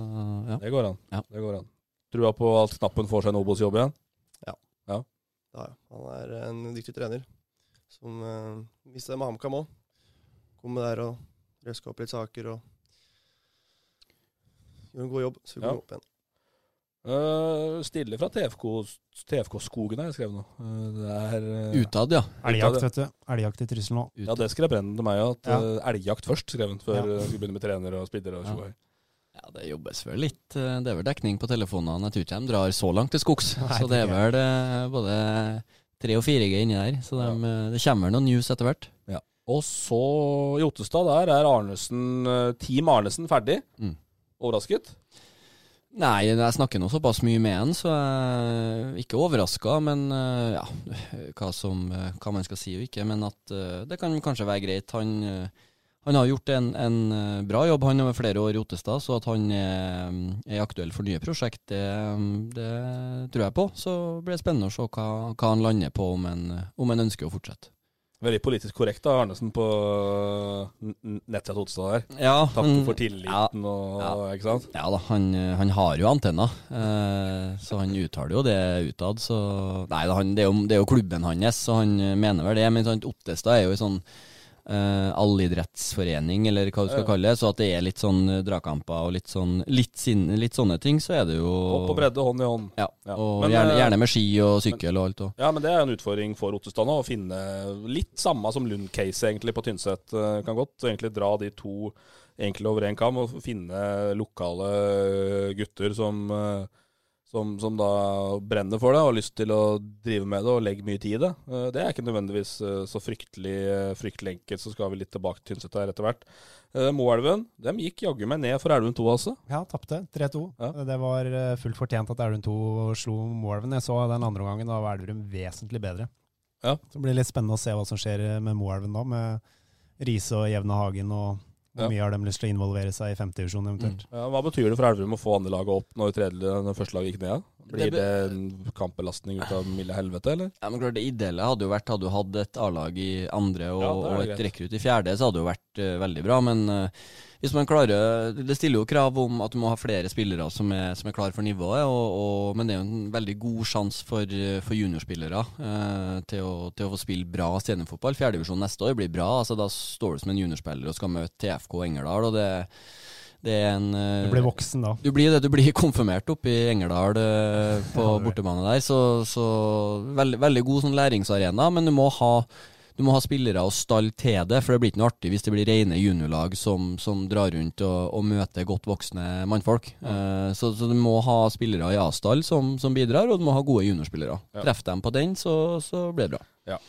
Speaker 4: ja.
Speaker 3: Det går an.
Speaker 4: Ja.
Speaker 3: Det går an. Trua på at knappen får seg en Obos-jobb igjen?
Speaker 6: Ja, ja. han er en dyktig trener. Som uh, viste det med HamKam òg. Kom der og røska opp litt saker og gjorde en god jobb. Så vi kom
Speaker 3: Ja.
Speaker 6: opp igjen.
Speaker 3: Eh, stille fra TFK, TFK-skogen her, skrev jeg nå. Eh, det er eh,
Speaker 4: Utad, ja.
Speaker 5: Elgjakt, vet du. Elgjakt i trussel nå.
Speaker 3: Ja, det skrev Brennen til meg òg.
Speaker 5: Ja.
Speaker 3: Elgjakt først, skrev han. Før
Speaker 5: Ja.
Speaker 3: eh, vi skulle begynne med trener og spiller. Og
Speaker 4: Ja.
Speaker 3: tjohei.
Speaker 4: Ja, det jobbes vel litt. eh, Det er vel dekning på telefonene. Jeg tror ikke de drar så langt til skogs.
Speaker 5: Nei,
Speaker 4: Så det er
Speaker 5: det
Speaker 4: vel eh, både 3 og 4G inni der. Så de, eh, det kommer vel noen news etter hvert.
Speaker 3: Og så i Ottestad, der er Arnesen, eh, Team Arnesen ferdig.
Speaker 4: Mm.
Speaker 3: Overrasket?
Speaker 4: Nei, jeg snakker nå såpass mye med han, så jeg er ikke overraska. Men eh, ja, hva, som, eh, hva man skal si og ikke. Men at eh, det kan kanskje være greit. Han, eh, han har gjort en, en eh, bra jobb, han over flere år i Ottestad. Så at han eh, er aktuell for nye prosjekt, det, det tror jeg på. Så blir det spennende å se hva, hva han lander på, om han, om han ønsker å fortsette.
Speaker 3: Veldig politisk korrekt av Arnesen på eh, n- n- nettsida til Ottestad der.
Speaker 4: Ja,
Speaker 3: Takke for tilliten
Speaker 4: Mm. Ja,
Speaker 3: og
Speaker 4: ja.
Speaker 3: Ikke sant?
Speaker 4: Ja da, han, han har jo antenna, eh, så han uttaler jo det utad. Så Nei, da, han, det, er jo, det er jo klubben hans, så han eh, mener vel det. Men sånn, Ottestad er jo en sånn eh, allidrettsforening, eller hva du skal
Speaker 3: Ja.
Speaker 4: kalle det. Så at det er litt sånn eh, dragkamper og litt, sånn, litt, sin, litt sånne ting, så er det jo
Speaker 3: Opp og bredde, hånd i hånd.
Speaker 4: Ja,
Speaker 3: Ja.
Speaker 4: og
Speaker 3: Men,
Speaker 4: gjerne,
Speaker 3: eh,
Speaker 4: gjerne med ski og sykkel og alt. Og.
Speaker 3: Ja, men det er en utfordring for Ottestad nå, å finne litt samme som Lund-case egentlig på Tynset. Eh, Kan godt egentlig dra de to egentlig over en kam og finne lokale gutter som eh, som, som da brenner for det og har lyst til å drive med det og legge mye tid i det. Eh, Det er ikke nødvendigvis eh, så fryktelig, eh, fryktelig enkelt, så skal vi litt tilbake til Tynset her etter hvert. Eh, Moelven dem gikk jaggu meg ned for Elven 2, altså.
Speaker 5: Ja, tapte 3-2.
Speaker 3: Ja.
Speaker 5: Det var eh, fullt fortjent at Elverum 2 slo Moelven. Jeg så den andre omgangen, da var Elverum vesentlig bedre.
Speaker 3: Ja.
Speaker 5: Så det blir litt spennende å se hva som skjer eh, med Moelven da, med Riise og Jevne Hagen, og hvor
Speaker 3: Ja.
Speaker 5: mye har de lyst til å involvere seg i femtedivisjon
Speaker 4: Mm.
Speaker 5: eventuelt.
Speaker 3: Ja, hva betyr det for Elverum å få andre laget opp når, tredje, når første laget gikk ned? da?
Speaker 4: Det
Speaker 3: Blir
Speaker 4: be-
Speaker 3: det en kampbelastning ut av milde helvete, eller?
Speaker 4: Ja, men klart Det ideelle hadde jo vært hadde du hatt et A-lag i andre og,
Speaker 3: Ja, det er
Speaker 4: og
Speaker 3: greit.
Speaker 4: et rekrutt i fjerde, så hadde det jo vært eh, veldig bra. Men eh, hvis man klarer Det stiller jo krav om at du må ha flere spillere som er, som er klare for nivået, og, og, men det er jo en veldig god sjanse for, eh, for juniorspillere eh, til, å, til å få spille bra seniorfotball. Fjerdedivisjon neste år blir bra. altså Da står du som en juniorspiller og skal møte TFK Engerdal, og det, det er en eh,
Speaker 5: Du blir voksen da.
Speaker 4: du blir det, du blir konfirmert opp i Engerdal eh, på
Speaker 5: Ja, det blir.
Speaker 4: bortebane der, så, så veldig, veldig god sånn læringsarena, men du må ha du må ha spillere og stall til det, for det blir ikke noe artig hvis det blir rene juniorlag som, som drar rundt og, og møter godt voksne mannfolk. Eh, så, så du må ha spillere i A-stall som, som bidrar, og du må ha gode juniorspillere.
Speaker 3: Ja.
Speaker 4: Treff dem på den, så, så blir det bra.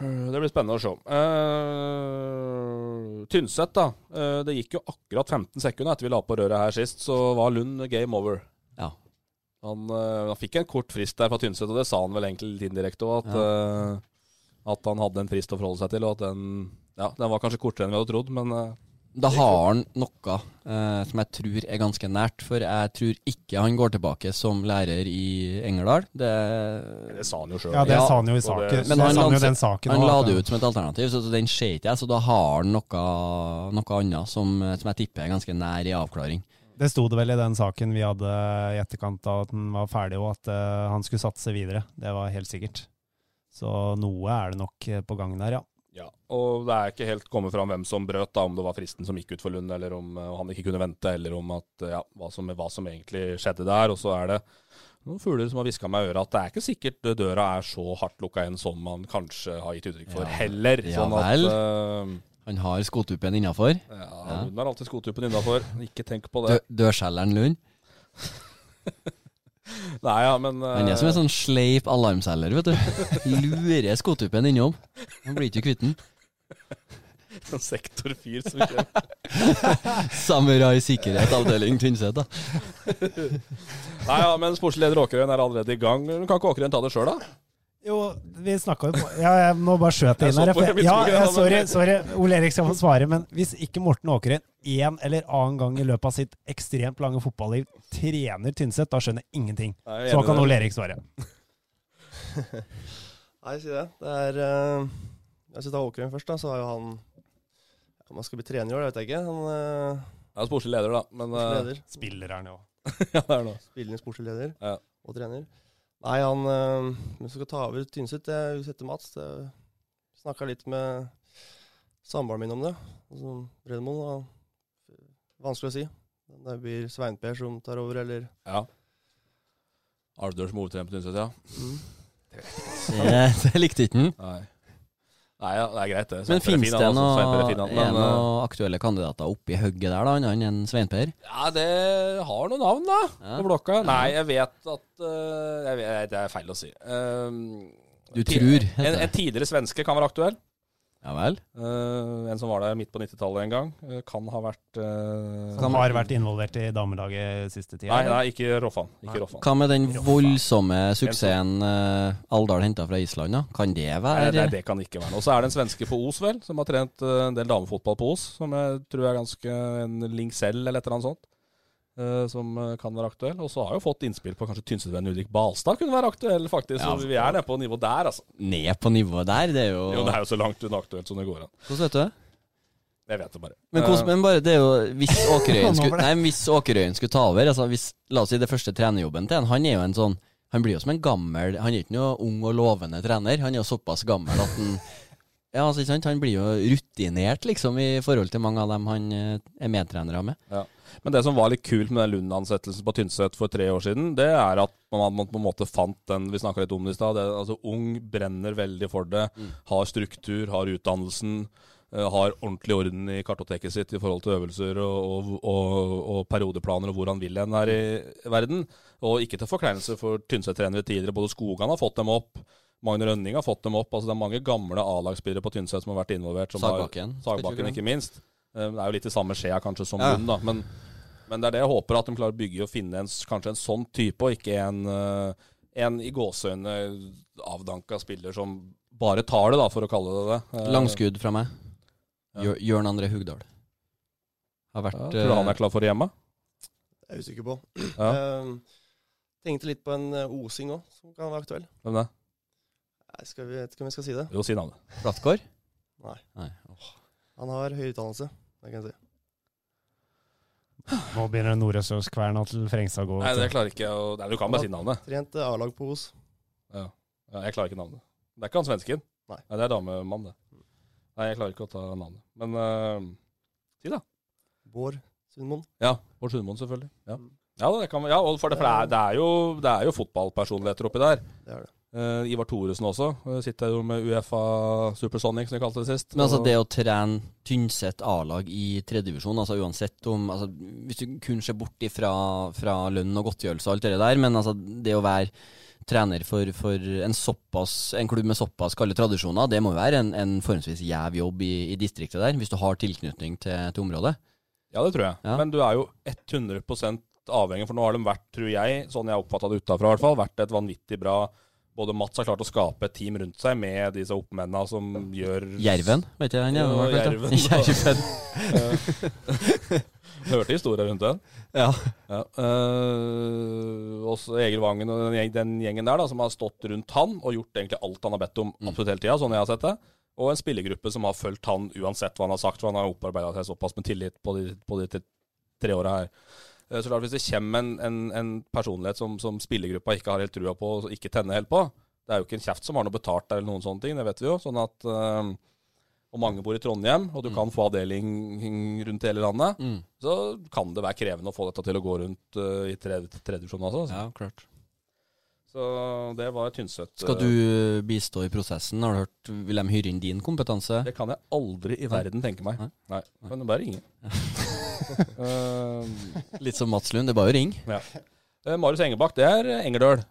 Speaker 3: Det blir spennende å se. Eh, Tynset, da. Eh, det gikk jo akkurat 15 sekunder etter vi la på røret her sist, så var Lund game over.
Speaker 4: Ja.
Speaker 3: Han, eh, han fikk en kort frist der fra Tynset, og det sa han vel egentlig litt indirekte òg, at, eh, at han hadde en frist å forholde seg til, og at den Ja, den var kanskje kortere enn vi hadde trodd, men eh,
Speaker 4: Da har han noe eh, som jeg tror er ganske nært, for jeg tror ikke han går tilbake som lærer i Engerdal. Det
Speaker 3: det sa han jo sjøl.
Speaker 5: Ja, det
Speaker 4: Ja,
Speaker 5: sa han jo i
Speaker 3: og det-
Speaker 5: saken.
Speaker 4: Men
Speaker 5: det
Speaker 4: han
Speaker 5: sa han jo
Speaker 4: lanser-
Speaker 5: den saken.
Speaker 4: Han
Speaker 5: også,
Speaker 4: la
Speaker 5: at
Speaker 4: det
Speaker 5: han-
Speaker 4: ut som et alternativ, så så den ser ikke jeg. Så da har han noe, noe annet som, eh, som jeg tipper er ganske nær i avklaring.
Speaker 5: Det sto det vel i den saken vi hadde i etterkant av at den var ferdig, og at eh, han skulle satse videre. Det var helt sikkert. Så noe er det nok eh, på gang der, ja.
Speaker 3: Ja, og det er ikke helt kommet fram hvem som brøt, da, om det var fristen som gikk ut for Lund, eller om eh, han ikke kunne vente, eller om at, eh, ja, hva, som, hva som egentlig skjedde der. Og så er det noen fugler som har hviska meg i øret at det er ikke sikkert eh, døra er så hardt lukka igjen som man kanskje har gitt uttrykk for,
Speaker 4: Ja.
Speaker 3: heller.
Speaker 4: Ja
Speaker 3: Sånn at
Speaker 4: vel.
Speaker 3: eh,
Speaker 4: Han har skotuppen innafor.
Speaker 3: ja,
Speaker 4: Ja.
Speaker 3: Lund har alltid skotuppen innafor. Ikke tenk på
Speaker 4: Dø
Speaker 3: det.
Speaker 4: dørselgeren Lund.
Speaker 3: Nei, ja, men eh,
Speaker 4: Han er som en sånn sleip alarmselger, vet du. Lurer skotuppen innom. Han blir ikke kvitt den. sånn-
Speaker 3: en sektorfyr som ikke
Speaker 4: Samurai sikkerhet, avdeling Tynset, da.
Speaker 3: Nei, ja, men sportsleder Åkerøyen er allerede i gang. Men Kan ikke Åkerøyen ta det sjøl, da?
Speaker 5: Jo, vi snakka jo på Ja, jeg, nå bare skjøt
Speaker 3: Jeg
Speaker 5: jeg inn her.
Speaker 3: så på-
Speaker 5: for-
Speaker 3: jeg
Speaker 5: Ja,
Speaker 3: visste ikke
Speaker 5: ja,
Speaker 3: det,
Speaker 5: sorry,
Speaker 3: men-
Speaker 5: sorry. Ole Erik skal få svare, men hvis ikke Morten Åkeren en eller annen gang i løpet av sitt ekstremt lange fotballiv trener Tynset, da skjønner jeg ingenting.
Speaker 3: Nei, jeg er
Speaker 5: Så
Speaker 3: enig
Speaker 5: kan
Speaker 3: i det.
Speaker 5: Ole Erik svare.
Speaker 6: Nei, si det. Det er eh, Jeg skal ta Åkeren først, da. Så har jo han Om han skal bli trener i år, det vet jeg ikke. Han eh,
Speaker 3: Ja, sportslig leder, da. Men eh,
Speaker 6: leder.
Speaker 5: Spiller her nå.
Speaker 3: ja, det er noe.
Speaker 6: Spillende sportslig leder.
Speaker 3: Ja.
Speaker 6: Og trener. Nei, han eh, som skal ta over Tynset, det er Usette Mats. Det Snakka litt med samboeren min om det. Altså, Redmond. Og, vanskelig å si. Det blir Sveinper som tar over, eller
Speaker 3: Ja. Alvdør som hovedtrener på Tynset, ja.
Speaker 6: mm.
Speaker 4: Det, det likte ikke han.
Speaker 3: Nei. Nei, ja, det er greit, det.
Speaker 4: Men
Speaker 3: Sveinper er
Speaker 4: finnes
Speaker 3: fin,
Speaker 4: det
Speaker 3: han, altså. Sveinper er fin,
Speaker 4: noen
Speaker 3: han, men,
Speaker 4: noe aktuelle kandidater oppi hugget der, da, annet enn Sveinper?
Speaker 3: eh, Ja, det har noen navn, da.
Speaker 4: Ja.
Speaker 3: På blokka. Nei, jeg vet at eh, jeg vet, Det er feil å si. Eh,
Speaker 4: Du
Speaker 3: ti-
Speaker 4: tror,
Speaker 3: En,
Speaker 4: heter
Speaker 3: en
Speaker 4: det.
Speaker 3: tidligere svenske kan være aktuell.
Speaker 4: Ja vel?
Speaker 3: Eh, en som var der midt på 90-tallet en gang. Eh, kan ha vært eh,
Speaker 5: Som har vært involvert i damelaget siste tida.
Speaker 3: Nei, nei, ikke Roffan. Ikke Roffan.
Speaker 4: Hva med den voldsomme suksessen eh, Alvdal henta fra Island, da? Kan det
Speaker 3: Nei,
Speaker 4: være
Speaker 3: Eh, nei, det kan det ikke være noe. Så er det en svenske på Os, vel, som har trent eh, en del damefotball på Os. Som jeg tror er ganske en Lingsell eller et eller annet sånt. eh, som eh, kan være aktuell. Og så har jeg jo fått innspill på kanskje Tynsetvennen Ulrik Balstad kunne være aktuell, faktisk.
Speaker 4: Ja.
Speaker 3: Så vi er nede på nivå der, altså.
Speaker 4: ned på nivået der? Det er jo,
Speaker 3: Jo, det er jo så langt unna aktuelt som det går an.
Speaker 4: Hvordan vet du det?
Speaker 3: Jeg vet det bare.
Speaker 4: Men, hvordan, men bare, det er jo Hvis Åkerøyen skulle, nei, men hvis Åkerøyen skulle ta over altså hvis, La oss si det første trenerjobben til han Han er jo en sånn Han blir jo som en gammel Han er ikke noe ung og lovende trener. Han er jo såpass gammel at han Ja, altså, ikke sant? Han blir jo rutinert, liksom, i forhold til mange av dem han eh, er medtrenere med.
Speaker 3: Men det som var litt kult med den Lund-ansettelsen på Tynset for tre år siden, det er at man, man på en måte fant den vi snakka litt om det i stad. det- Altså, ung brenner veldig for det. Har struktur, har utdannelsen. eh, har ordentlig orden i kartoteket sitt i forhold til øvelser og, og, og, og periodeplaner og hvor han vil hen her i verden. Og ikke til forkleinelse for Tynset-trenere tidligere. Både Skogan har fått dem opp. Magne Rønning har fått dem opp. altså Det er mange gamle A-lagsspillere på Tynset som har vært involvert. Som
Speaker 4: Sagbakken,
Speaker 3: Har, Sagbakken
Speaker 4: spilte vi
Speaker 3: ikke minst. Eh, Det er jo litt i samme skjea kanskje som
Speaker 4: Ja.
Speaker 3: Lund, da. Men, men det er det jeg håper, at de klarer å bygge og finne en, s- kanskje en sånn type, og ikke en, eh, en i gåseøynene avdanka spiller som bare tar det, da, for å kalle det det. Eh,
Speaker 4: Langskudd fra meg.
Speaker 3: Ja.
Speaker 4: Jør- Jørn André Hugdal. Har vært
Speaker 3: Ja, tror du han
Speaker 4: eh,
Speaker 3: er klar for hjemme?
Speaker 6: Jeg er usikker på.
Speaker 3: Ja,
Speaker 6: Ehm, tenkte litt på en eh, Osing òg, som kan være aktuell.
Speaker 3: hvem det?
Speaker 6: Nei, skal vi, vet ikke om jeg skal si det.
Speaker 3: Jo, si navnet.
Speaker 4: Flatgård?
Speaker 6: Nei.
Speaker 4: Nei.
Speaker 6: Han har høy utdannelse, det kan jeg si.
Speaker 5: Nå begynner Nordøstlandskverna til Frengstad å gå.
Speaker 3: Nei, det klarer ikke jeg å Nei, du kan bare si navnet.
Speaker 6: Trent eh, A-lag på Os.
Speaker 3: Ja, jeg klarer ikke navnet. Det er ikke han svensken.
Speaker 6: Nei.
Speaker 3: det er damemann, det. Nei, jeg klarer ikke å ta navnet. Men eh,
Speaker 6: Bård Sundmoen.
Speaker 3: ja, Bård Sundmoen, selvfølgelig. Ja, ja, det, kan, ja og for det, for det, er, det, er jo, det er jo fotballpersonligheter oppi der.
Speaker 6: Det er det.
Speaker 3: Eh, Ivar Thoresen også. eh, sitter jo med Uefa Supersonic, som vi kalte det sist.
Speaker 4: Men altså
Speaker 3: Og-
Speaker 4: det å trene Tynset A-lag i tredjedivisjon, altså uansett om altså, Hvis du kun ser bort ifra fra lønn og godtgjørelse og alt det der, men altså det å være trener for, for en, såpass, en klubb med såpass kalde tradisjoner, det må være en, en forholdsvis jæv jobb i, i distriktet der, hvis du har tilknytning til, til området.
Speaker 3: Ja, det tror jeg.
Speaker 4: Ja.
Speaker 3: Men du er jo 100 avhengig, for nå har de vært, tror jeg, sånn jeg oppfatta det utafra i hvert fall, vært et vanvittig bra Både Mats har klart å skape et team rundt seg med disse oppmennene som gjør
Speaker 4: Jerven, vet du den?
Speaker 3: Ja,
Speaker 4: jerven, hva heter det?
Speaker 3: Jerven,
Speaker 4: Jerven.
Speaker 3: Hørte historier rundt den.
Speaker 4: Ja.
Speaker 3: Ja, øh, også Egil Vangen og den, gjeng, den gjengen der da, som har stått rundt han og gjort egentlig alt han har bedt om absolutt hele tida, sånn jeg har sett det. Og en spillergruppe som har fulgt han uansett hva han har sagt, for han har opparbeida seg såpass med tillit på de, på de tre- tre åra her. Eh, Så klart, hvis det kommer en, en, en personlighet som, som spillergruppa ikke har helt trua på, og ikke tenner helt på, det er jo ikke en kjeft som har noe betalt der eller noen sånne ting, det vet vi jo. Sånn at øh, og mange bor i Trondheim, og du kan få avdeling rundt hele landet
Speaker 4: Mm.
Speaker 3: så kan det være krevende å få dette til å gå rundt eh, i tredje tredje divisjon også. altså.
Speaker 4: ja, klart.
Speaker 3: Så det var Tynset.
Speaker 4: Skal
Speaker 3: eh,
Speaker 4: du bistå i prosessen? Har du hørt, Vil de hyre inn din kompetanse?
Speaker 3: Det kan jeg aldri i verden tenke meg.
Speaker 4: Nei.
Speaker 3: Nei. Men bare ringe. Eh,
Speaker 4: Litt som Mats Lund, det er bare å ringe.
Speaker 3: eh, Marius Engebakk, det er Engerdøl.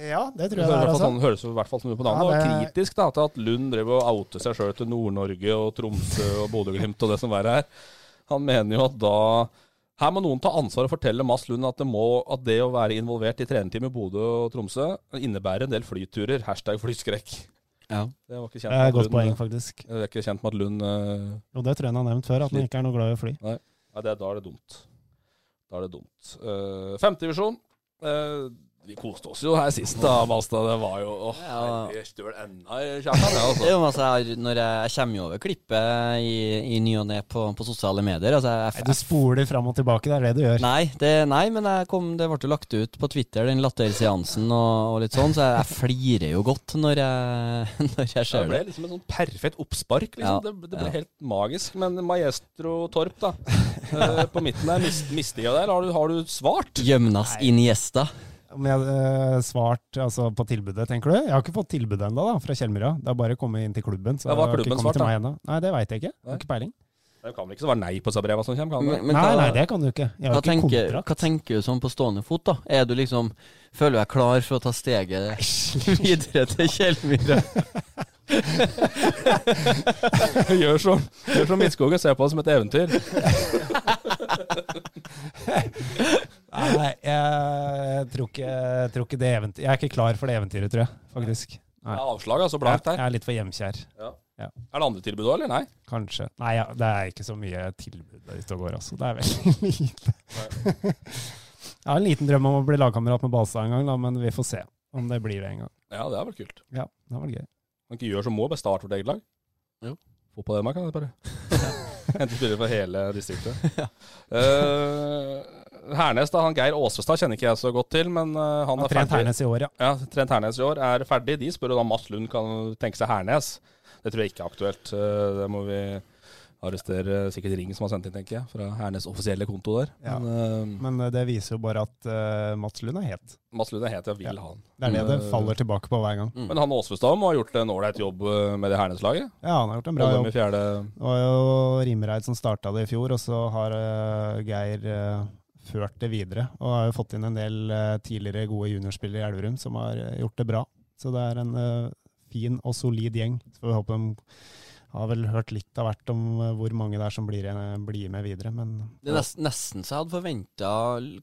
Speaker 5: Ja, det
Speaker 3: Det
Speaker 5: tror jeg det
Speaker 3: høres i
Speaker 5: er.
Speaker 3: hvert fall
Speaker 5: Altså.
Speaker 3: sånn, høres i hvert fall sånn ut på navnet.
Speaker 5: Ja,
Speaker 3: Og
Speaker 5: det-
Speaker 3: kritisk da, til at Lund drev og outet seg sjøl til Nord-Norge og Tromsø og Bodø-Glimt og det som verre er. Han mener jo at da her må noen ta ansvar og fortelle Mads Lund at det, må, at det å være involvert i trenerteam i Bodø og Tromsø innebærer en del flyturer. Hashtag flyskrekk.
Speaker 4: Ja.
Speaker 3: Det var ikke kjent
Speaker 5: Det er
Speaker 3: med
Speaker 5: et
Speaker 3: at
Speaker 5: godt
Speaker 3: Lund-
Speaker 5: poeng, faktisk.
Speaker 3: Jeg er ikke kjent med at Lund eh,
Speaker 5: Jo, det tror jeg han har nevnt før, at han ikke er noe glad i å fly.
Speaker 3: Nei, det, da er det dumt. Da er det dumt. Uh, Femtedivisjon. Uh, vi koste oss jo her sist, da, Balstad. Det var jo åh,
Speaker 4: Ja.
Speaker 3: herre støl enda, Kjartan. Ja,
Speaker 4: Det er
Speaker 3: altså.
Speaker 4: jo masse jeg har, når jeg, jeg kommer jo over klippet i, i ny og ne på, på sosiale medier. Altså jeg,
Speaker 5: Nei, du spoler fram og tilbake, det er det du gjør.
Speaker 4: nei, det, nei, men jeg kom, det ble jo lagt ut på Twitter, den latterseansen og, og litt sånn, så jeg, jeg flirer jo godt når jeg, når
Speaker 3: Det
Speaker 4: jeg ser
Speaker 3: ble
Speaker 4: det.
Speaker 3: liksom et sånn perfekt oppspark.
Speaker 4: Ja.
Speaker 3: liksom. Det, det ble
Speaker 4: Ja.
Speaker 3: helt magisk. Men Maestro Torp, da. eh, på midten der, mis, mistida der, har du, har du svart?
Speaker 4: Gjemnas inn gjesta.
Speaker 5: Om jeg eh, svart altså, på tilbudet, tenker du? Jeg har ikke fått tilbudet ennå, da, fra Kjellmyra. Det er bare å komme inn til klubben. Så
Speaker 3: Ja, hva har
Speaker 5: det har ikke
Speaker 3: klubben
Speaker 5: kommet til
Speaker 3: svart,
Speaker 5: meg ennå. Nei, det veit jeg ikke. Jeg
Speaker 3: Nei.
Speaker 5: har ikke peiling.
Speaker 3: Det kan vel ikke svare nei på disse breva som kommer? Kan det?
Speaker 4: Men- men
Speaker 5: nei,
Speaker 4: hva-
Speaker 5: nei, det kan du ikke. Jeg har
Speaker 4: Hva
Speaker 5: ikke
Speaker 4: tenker,
Speaker 5: kontrakt.
Speaker 4: hva tenker du sånn på stående fot, da? Er du liksom Føler du deg klar for å ta steget videre til Kjellmyra?
Speaker 3: gjør som, gjør som Midtskogen, ser på det som et eventyr.
Speaker 5: Nei, nei, jeg tror ikke, jeg tror ikke det eventyr. Jeg er ikke klar for det eventyret, tror jeg, faktisk. Nei.
Speaker 3: Det er avslag, altså.
Speaker 5: Jeg,
Speaker 3: Blankt her.
Speaker 5: jeg er litt for hjemkjær,
Speaker 3: Er det andre tilbud òg, eller? Nei?
Speaker 5: kanskje. Nei, ja, det er ikke så mye tilbud der ute og går, altså. Det er veldig lite. Jeg har en liten drøm om å bli lagkamerat med Balstad en gang, da, men vi får se om det blir det en gang.
Speaker 3: Ja, det er vel kult.
Speaker 5: Ja, det var gøy.
Speaker 3: Man ikke gjør som må, bare start vårt eget lag.
Speaker 4: Jo.
Speaker 3: Få på det man kan, det bare. Hente spillere fra hele distriktet. Eh, Hernes, da. Han Geir Åsestad kjenner ikke jeg så godt til, men eh, han
Speaker 5: Han
Speaker 3: er
Speaker 5: har trent
Speaker 3: ferdig.
Speaker 5: Hernes i år, ja.
Speaker 3: Ja, Trent Hernes i år er ferdig. De spør jo da om Mats Lund kan tenke seg Hernes. Det tror jeg ikke er aktuelt. Eh, Det må vi Arrester eh, sikkert Ring som har sendt inn, tenker jeg, fra Hernes offisielle konto der.
Speaker 5: Ja.
Speaker 3: Men eh,
Speaker 5: Men eh, det viser jo bare at eh, Mats Lund er het.
Speaker 3: Mats Lund er helt jeg vil
Speaker 5: Ja.
Speaker 3: ha han.
Speaker 5: Det er det
Speaker 4: Mm.
Speaker 5: det
Speaker 3: Eh,
Speaker 5: faller tilbake på hver gang.
Speaker 3: Men han og Åsvestad må ha gjort en ålreit jobb eh, med det Hernes-laget.
Speaker 5: Ja, han har gjort en bra
Speaker 3: Holde dem
Speaker 5: jobb.
Speaker 3: i fjerde
Speaker 5: Det var jo Rimereid som starta det i fjor, og så har eh, Geir eh, ført det videre. Og har jo fått inn en del eh, tidligere gode juniorspillere i Elverum som har eh, gjort det bra. Så det er en eh, fin og solid gjeng. Så får vi håpe de har vel hørt litt av hvert om eh, hvor mange det er som blir, eh, blir med videre, men
Speaker 4: Det er nesten, nesten så jeg hadde forventa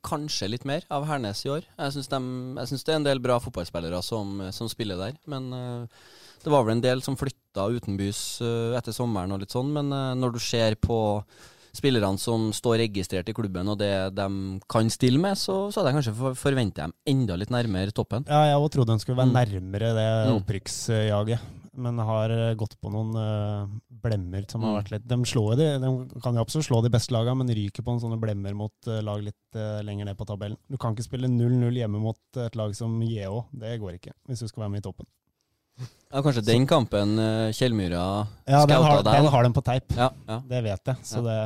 Speaker 4: kanskje litt mer av Hernes i år. Jeg syns, dem- jeg syns det er en del bra fotballspillere som, som spiller der. Men eh, det var vel en del som flytta utenbys eh, etter sommeren og litt sånn. Men eh, når du ser på spillerne som står registrert i klubben og det de kan stille med, så, så hadde jeg kanskje for, forventa dem enda litt nærmere toppen.
Speaker 5: Ja, jeg også trodde hun skulle være
Speaker 4: Mm.
Speaker 5: nærmere det
Speaker 4: Mm.
Speaker 5: opprykksjaget. Men har eh, gått på noen eh, blemmer som har
Speaker 4: Mm.
Speaker 5: vært litt De, slår jo de, de kan jo absolutt slå de beste lagene, men ryker på en sånne blemmer mot eh, lag litt eh, lenger ned på tabellen. Du kan ikke spille 0-0 hjemme mot eh, et lag som JH. Det går ikke, hvis du skal være med i toppen.
Speaker 4: Ja, kanskje den kampen eh, Kjellmyra
Speaker 5: Ja, den har,
Speaker 4: scouta der.
Speaker 5: den har de på teip.
Speaker 4: Ja, ja.
Speaker 5: Det vet jeg, så det,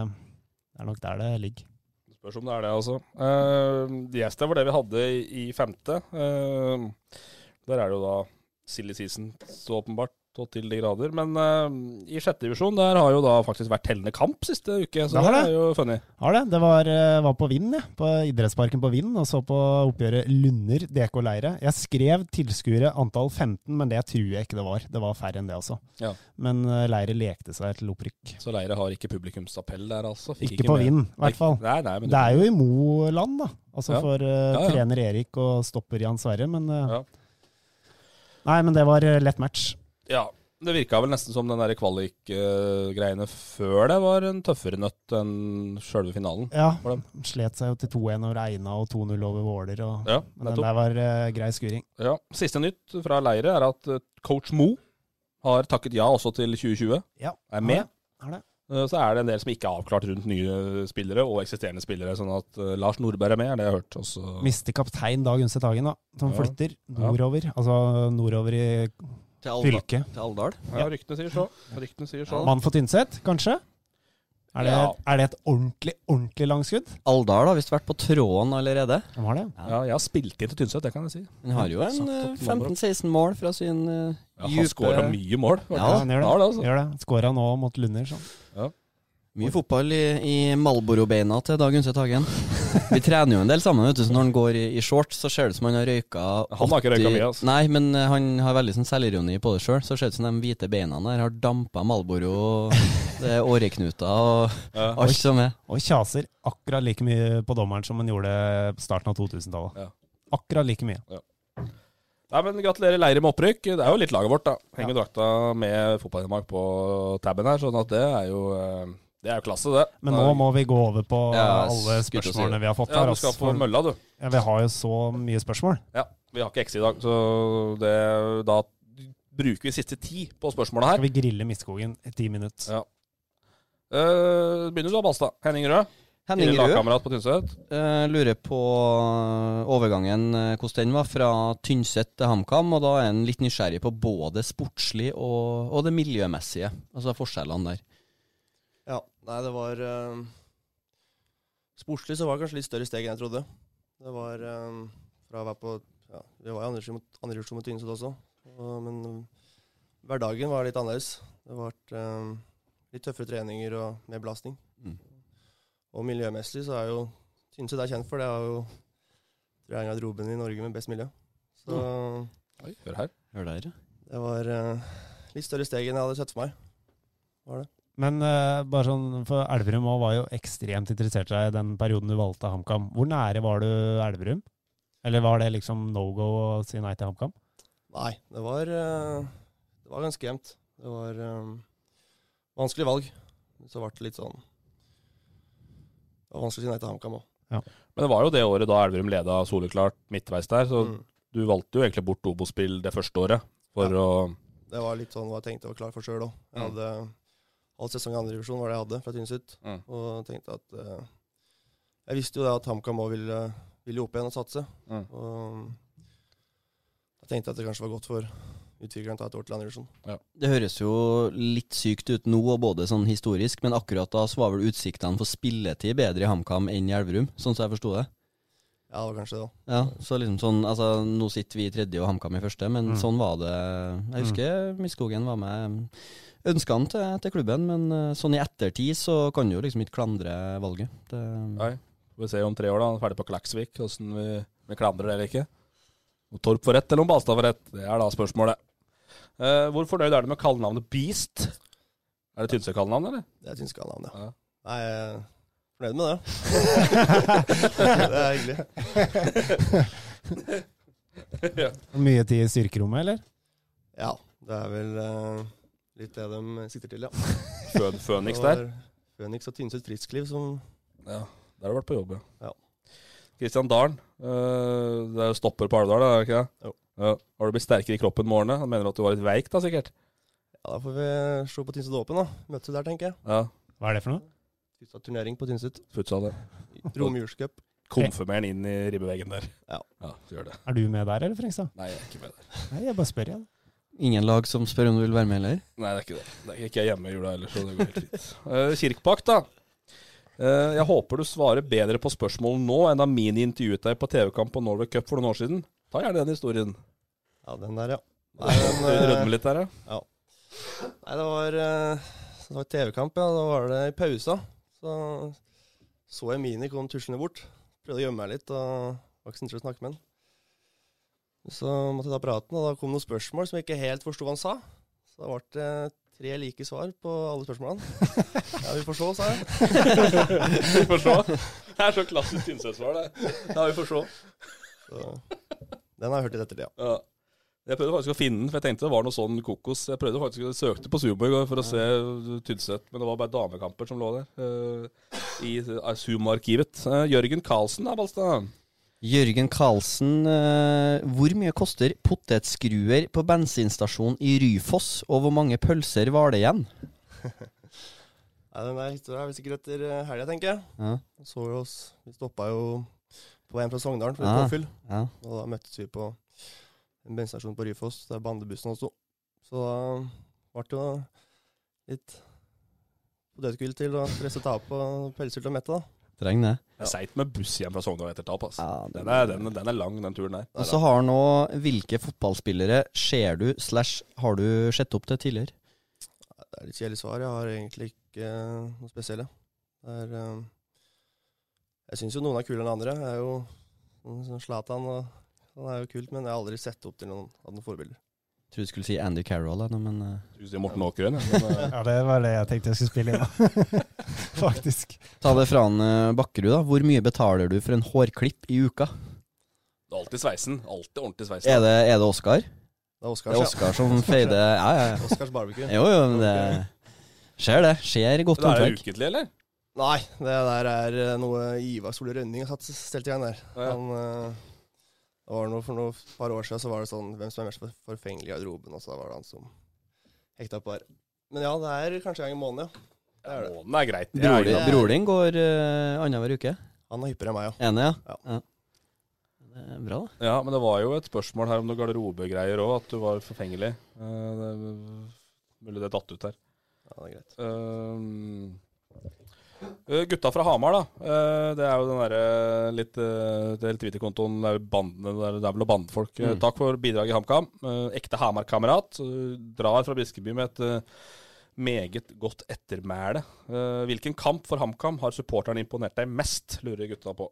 Speaker 5: det er nok der det ligger.
Speaker 3: Spørs om det er det, altså. Uh, Gjestad var det vi hadde i, i femte. Eh, der er det jo da silly season, så åpenbart, og til de grader. Men eh, i sjette divisjon, der har jo da faktisk vært tellende kamp siste uke, så
Speaker 5: Det har
Speaker 3: det
Speaker 5: det.
Speaker 3: er jo funny.
Speaker 5: Har det. Det var, eh, var på Vind, jeg. På idrettsparken på Vind, og så på oppgjøret Lunder DK Leire. Jeg skrev tilskuere antall 15, men det tror jeg ikke det var. Det var færre enn det også.
Speaker 3: Ja.
Speaker 5: Men eh, Leire lekte seg til opprykk.
Speaker 3: Så Leire har ikke publikumsappell der, altså. Fikk
Speaker 5: Ikke, på
Speaker 3: med-
Speaker 5: Vind, i hvert fall.
Speaker 3: Nei, nei, men
Speaker 5: Det er jo i Moland, da. Altså
Speaker 3: Ja.
Speaker 5: for eh,
Speaker 3: Ja, ja.
Speaker 5: trener Erik og stopper Jan Sverre, men eh,
Speaker 3: Ja.
Speaker 5: Nei, men det var eh, lett match.
Speaker 3: Ja, det virka vel nesten som den der kvalik-greiene før det var en tøffere nøtt enn sjølve finalen.
Speaker 5: Ja,
Speaker 3: For dem.
Speaker 5: slet seg jo til 2-1 over Eina og 2-0 over Våler, og
Speaker 3: Ja,
Speaker 5: men den
Speaker 3: nettopp.
Speaker 5: der var eh, grei skuring.
Speaker 3: Ja. Siste nytt fra leire er at eh, coach Mo har takket ja også til 2020.
Speaker 5: Ja,
Speaker 3: Er med.
Speaker 5: Ja, det Er det.
Speaker 3: Eh, Så er det en del som ikke er avklart rundt nye eh, spillere og eksisterende spillere. Sånn at eh, Lars Nordberg er med, er det jeg har hørt. Og så
Speaker 5: Mister kaptein Dag Unset Hagen, da. Som
Speaker 3: Ja.
Speaker 5: flytter nordover. Altså nordover i
Speaker 4: Til Alda-
Speaker 5: fylket.
Speaker 4: Til Alvdal.
Speaker 3: ja, ryktene sier så. Ryktene sier så.
Speaker 5: Mann for Tynset, kanskje? Er det,
Speaker 3: Ja.
Speaker 5: er det et ordentlig, ordentlig langskudd?
Speaker 4: Alvdal har visst vært på tråden allerede.
Speaker 5: De har det.
Speaker 3: Ja, jeg har spilt inn til Tynset, det kan jeg si.
Speaker 4: Han har jo en
Speaker 3: Satt opp
Speaker 4: eh, 15-16 mål fra sin eh,
Speaker 3: Ja, han skåra
Speaker 4: dype
Speaker 3: mye mål.
Speaker 4: Ja,
Speaker 5: han gjør det.
Speaker 3: har det, altså.
Speaker 5: Gjør det. Skåra nå mot Lunder, sånn.
Speaker 4: Mye fotball i, i Malboro-beina til Dag Undset Hagen. Vi trener jo en del sammen, vet du, så når han går i, i shorts, så ser det ut som han har røyka
Speaker 3: Han har ikke røyka
Speaker 4: 80
Speaker 3: mye, altså.
Speaker 4: Nei, men eh, han har veldig sånn selvironi på det sjøl. Så ser det ut som de hvite beina der har dampa Malboro, og det er åreknuter og
Speaker 3: Ja.
Speaker 4: alt som er.
Speaker 5: Og kjaser akkurat like mye på dommeren som han gjorde på starten av 2000-tallet.
Speaker 3: Ja.
Speaker 5: Akkurat like mye.
Speaker 3: Nei, men Gratulerer Leire med opprykk. Det er jo litt laget vårt, da. Henger drakta med fotballhjemmemark på tabben her, sånn at det er jo eh, Det er jo klasse, det.
Speaker 5: Men nå må vi gå over på
Speaker 4: Ja,
Speaker 5: alle
Speaker 4: skulle til å si
Speaker 5: spørsmålene
Speaker 4: det.
Speaker 5: vi har fått
Speaker 3: Ja,
Speaker 5: her.
Speaker 3: du skal
Speaker 5: ass.
Speaker 3: på
Speaker 5: For-
Speaker 3: mølla, du.
Speaker 5: Ja, vi har jo så mye spørsmål.
Speaker 3: Ja, Vi har ikke X i dag, så det, da bruker vi siste ti på spørsmåla her.
Speaker 5: Skal vi grille Midtskogen i ti minutter?
Speaker 3: Ja. Eh, begynner du da, Balstad? Henning Rød.
Speaker 4: Henning
Speaker 3: tidligere
Speaker 4: Rød
Speaker 3: Lagkamerat på Tynset.
Speaker 4: eh, lurer på overgangen, eh, hvordan den var fra Tynset til HamKam, og da er han litt nysgjerrig på både sportslig og, og det miljømessige, altså forskjellene der.
Speaker 6: Ja, nei, det var eh, Sportslig så var det kanskje litt større steg enn jeg trodde. Det var eh, fra å være på ja, Vi var i andre mot, andre divisjon mot Tynset også, og, men eh, hverdagen var litt annerledes. Det var eh, litt tøffere treninger og mer belastning.
Speaker 4: Mm.
Speaker 6: Og miljømessig så er jo Tynset er kjent for det. er jo tror jeg er garderoben i Norge med best miljø. Så
Speaker 3: Oi, hør her.
Speaker 4: Hør der, ja.
Speaker 6: det var eh, litt større steg enn jeg hadde sett for meg.
Speaker 5: Men eh, bare sånn, for Elverum også var jo ekstremt interessert i deg i den perioden du valgte HamKam. Hvor nære var du Elverum? Eller var det liksom no go å si nei til HamKam?
Speaker 6: Nei, det var, eh, det var ganske jevnt. Det var eh, vanskelig valg. Så ble det litt sånn Det var vanskelig å si nei til HamKam òg.
Speaker 3: Men det var jo det året da Elverum leda soleklart midtveis der, så du valgte jo egentlig bort Obo-spill det første året for
Speaker 6: Ja.
Speaker 3: å
Speaker 6: Det var litt sånn hva jeg tenkte jeg var klar for sjøl òg. Jeg
Speaker 3: Mm.
Speaker 6: hadde halv sesong i andre divisjon var det jeg hadde fra Tynset,
Speaker 3: Mm.
Speaker 6: og tenkte at eh, Jeg visste jo det at HamKam òg ville, ville opp igjen og satse.
Speaker 3: Mm.
Speaker 6: Og jeg tenkte at det kanskje var godt for utvikleren tar et år til Andersson.
Speaker 4: Det høres jo litt sykt ut nå, og både sånn historisk, men akkurat da så var vel utsiktene for spilletid bedre i HamKam enn i Elverum, sånn som jeg forsto det.
Speaker 6: Ja, det var kanskje det, da.
Speaker 4: Ja, så liksom sånn, altså Nå sitter vi i tredje og HamKam i første, men
Speaker 5: Mm.
Speaker 4: sånn var det. Jeg husker Midtskogen var med. Ønska han til, til klubben, men eh, sånn i ettertid så kan du jo liksom ikke klandre valget. Det,
Speaker 3: Nei. Vi ser om tre år, da. han er Ferdig på Klaksvik. Hvordan vi, vi klandrer det eller ikke. Om Torp får rett, eller om Balstad får rett. Det er da spørsmålet. Eh, hvor fornøyd er du med kallenavnet Beast? Er det Tynsø-kallenavn, eller?
Speaker 6: Det er tyske navn, ja.
Speaker 3: Ja.
Speaker 6: Nei, jeg er fornøyd med det. det er hyggelig.
Speaker 5: Mye tid i styrkerommet, eller?
Speaker 6: Ja, det er vel eh, litt det de sikter til, ja.
Speaker 3: Fø- Føniks der.
Speaker 6: Føniks og Tynset Friskliv som
Speaker 3: Ja, der har du vært på jobb,
Speaker 6: Ja.
Speaker 3: Kristian Dalen. eh, det er jo stopper på Alvdal, er det ikke det?
Speaker 6: Jo.
Speaker 3: Ja. Har du blitt sterkere i kroppen med årene? Han mener at du var litt veik, da, sikkert?
Speaker 6: Ja, da får vi se på Tynset Åpen, da. Møtes vi der, tenker jeg.
Speaker 3: Ja.
Speaker 5: Hva er det for noe?
Speaker 6: Første turnering på Tynset.
Speaker 3: Futsal, det.
Speaker 6: Romjulscup.
Speaker 3: Konfirmer han inn i ribbeveggen der.
Speaker 6: Ja.
Speaker 3: ja så gjør det.
Speaker 5: Er du med der, eller, Frengstad?
Speaker 3: Nei, jeg er ikke med der.
Speaker 5: Nei, jeg bare spør igjen.
Speaker 4: Ingen lag som spør om du vil være med heller?
Speaker 3: Nei, det er ikke det. det er ikke jeg hjemme i jula heller, så det går helt fint. Eh, Kirkbakk, da. Eh, jeg håper du svarer bedre på spørsmål nå enn da Mini intervjuet deg på TV-kamp på Norway Cup for noen år siden. Ta gjerne den historien.
Speaker 6: Ja, den der, ja. Nei, den, eh,
Speaker 3: Rødme litt der, ja.
Speaker 6: Nei, det var, eh, det var TV-kamp, ja. Da var det i pausa. Så så jeg Mini kom tuslende bort. Prøvde å gjemme meg litt, og var ikke så interessert i å snakke med han. Så måtte jeg ta praten, og da kom noen spørsmål som jeg ikke helt forsto hva han sa. Så da ble det tre like svar på alle spørsmålene. Ja, vi får se, sa jeg.
Speaker 3: Vi får se. Det er så klassisk Tynset-svar, det. Ja, vi får se.
Speaker 6: Så, den har jeg hørt litt etter det, ja.
Speaker 3: Ja. Jeg prøvde faktisk å finne den, for jeg tenkte det var noe sånn kokos. Jeg prøvde faktisk, jeg søkte på Sumo i går for å se Tynset, men det var bare damekamper som lå der. eh, I eh, Sumo-arkivet. Eh, Jørgen Karlsen da, Balstad.
Speaker 4: Jørgen Karlsen, eh, hvor mye koster potetskruer på bensinstasjon i Ryfoss, og hvor mange pølser var det igjen?
Speaker 6: Nei, den der historien er vel sikkert etter helga, tenker jeg.
Speaker 4: Ja,
Speaker 6: Så vi oss, vi stoppa jo på veien fra Sogndalen for
Speaker 4: Ah.
Speaker 6: litt påfyll.
Speaker 4: ja.
Speaker 6: Og da møttes vi på en bensinstasjon på Ryfoss, der bandebussen også. Så da ble det jo litt potetgull til å presse ta på pølser til Mette, da.
Speaker 4: Trenger det.
Speaker 3: Det er Seigt med buss hjem fra Sogndal etter tap. ass.
Speaker 4: Ja, det-
Speaker 3: den, er, den, den er lang, den turen der.
Speaker 4: Og så har nå Hvilke fotballspillere ser du slash har du sett opp til tidligere?
Speaker 6: Det er litt kjedelig svar. Jeg har egentlig ikke eh, noe spesielle. Det er, eh, jeg syns jo noen er kulere enn andre. Jeg er jo sånn som Zlatan og han er jo kult, men jeg har aldri sett opp til noen av noen forbilder.
Speaker 4: Tror du skulle si Andy Carroll, jeg, nå, men eh,
Speaker 3: Du sier Morten Åkeren, ja. men, eh,
Speaker 5: Ja, det var det jeg tenkte jeg skulle spille inn. Faktisk.
Speaker 4: Ta det fra han eh, Bakkerud, da. Hvor mye betaler du for en hårklipp i uka?
Speaker 3: det er alltid sveisen. Alltid ordentlig sveisen.
Speaker 4: Er det, er det Oskar?
Speaker 6: Det er
Speaker 4: Det
Speaker 6: Oscars,
Speaker 4: er Oskar som feider Ja, ja,
Speaker 6: ja. Oscars barbecue.
Speaker 4: ja. Jo, jo, men det Skjer det. Skjer godt
Speaker 3: Det er
Speaker 4: håndverk.
Speaker 3: ukentlig, eller?
Speaker 6: Nei, det der er eh, noe Ivar Solli Rønning har satt stelt i gang der.
Speaker 3: Ja, ja.
Speaker 6: Han, eh, det var noe For noen par år siden så var det sånn hvem som er mest for- forfengelig i garderoben, og så var det han som hekta på her. Men ja, det er kanskje en gang i måneden, ja. Det er det.
Speaker 3: Månen er greit. Jeg
Speaker 4: Bror
Speaker 3: er
Speaker 4: din,
Speaker 3: glad.
Speaker 4: bror din går uh, annenhver uke.
Speaker 6: Han er hyppigere enn meg, ja.
Speaker 4: Enig, ja?
Speaker 6: Ja.
Speaker 4: ja. Det er bra, da.
Speaker 3: Ja, men det var jo et spørsmål her om noen garderobegreier òg, at du var forfengelig. Eh, det er mulig det er datt ut her.
Speaker 6: ja det er greit.
Speaker 3: Ehm, eh, gutta fra Hamar, da. Eh, det er jo den derre litt uh, Det er Twitter-kontoen det er jo bandene, det er, det er vel noen bandefolk. Eh,
Speaker 4: Mm.
Speaker 3: takk for bidraget i HamKam. Eh, ekte Hamar-kamerat. Eh, drar fra Briskeby med et eh, meget godt ettermæle. Eh, hvilken kamp for HamKam har supporterne imponert deg mest, lurer gutta på.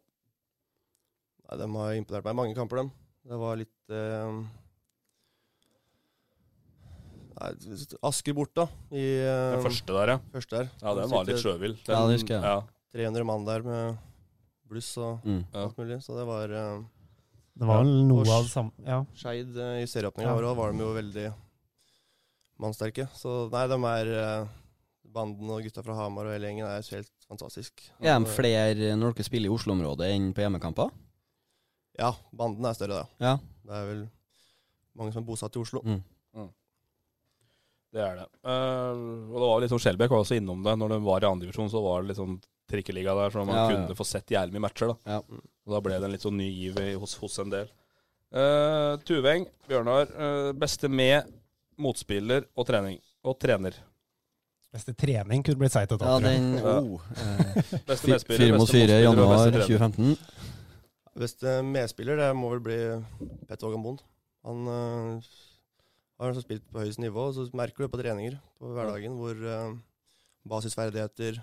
Speaker 6: Nei, De har imponert meg i mange kamper, dem. Det var litt eh, Nei, Asker borte, da. I eh,
Speaker 3: Den første der, ja.
Speaker 6: første der.
Speaker 3: Ehm, Ja, Den var litt sjøvill. Den-
Speaker 4: Ja, det husker jeg.
Speaker 3: Ja.
Speaker 6: 300 mann der med bluss og
Speaker 4: Mm.
Speaker 3: Ja.
Speaker 6: alt mulig, så det var eh,
Speaker 5: Det var vel noe
Speaker 6: Ja.
Speaker 5: av det samme Ja.
Speaker 6: Skeid eh, i serieåpninga
Speaker 5: Ja.
Speaker 6: ja. var de jo veldig mannsterke. Så nei, de er eh, Banden og gutta fra Hamar og hele gjengen er helt fantastisk. Altså,
Speaker 4: Er de flere når dere spiller i Oslo-området enn på hjemmekamper?
Speaker 6: Ja, banden er større, da.
Speaker 4: Ja.
Speaker 6: Det er vel mange som er bosatt i Oslo.
Speaker 4: Mm.
Speaker 3: Det er det. Eh, og det var liksom Skjelbæk var også innom det. Når de var i andredivisjon, så var det liksom trikkeliga der, så man
Speaker 4: Ja, ja.
Speaker 3: kunne få sett jævlig mye matcher. da.
Speaker 4: Ja.
Speaker 3: Og da ble det en litt sånn ny giv i- hos, hos en del. Ehm, Eh, Tuveng, Bjørnar. eh, beste med motspiller og trening. Og trener.
Speaker 5: Beste trening kunne blitt seigt å ta.
Speaker 4: Ja,
Speaker 5: tror jeg.
Speaker 4: den oh. eh,
Speaker 3: Beste
Speaker 4: fi-
Speaker 3: medspiller,
Speaker 4: Fire
Speaker 3: beste
Speaker 4: mot fire
Speaker 3: motspiller
Speaker 4: i
Speaker 3: og
Speaker 4: januar
Speaker 3: beste trener.
Speaker 4: 2015.
Speaker 6: Beste medspiller det må vel bli Petter Hågan Bond. Han øh, har altså spilt på høyest nivå, og så merker du på treninger på hverdagen hvor øh, basisferdigheter,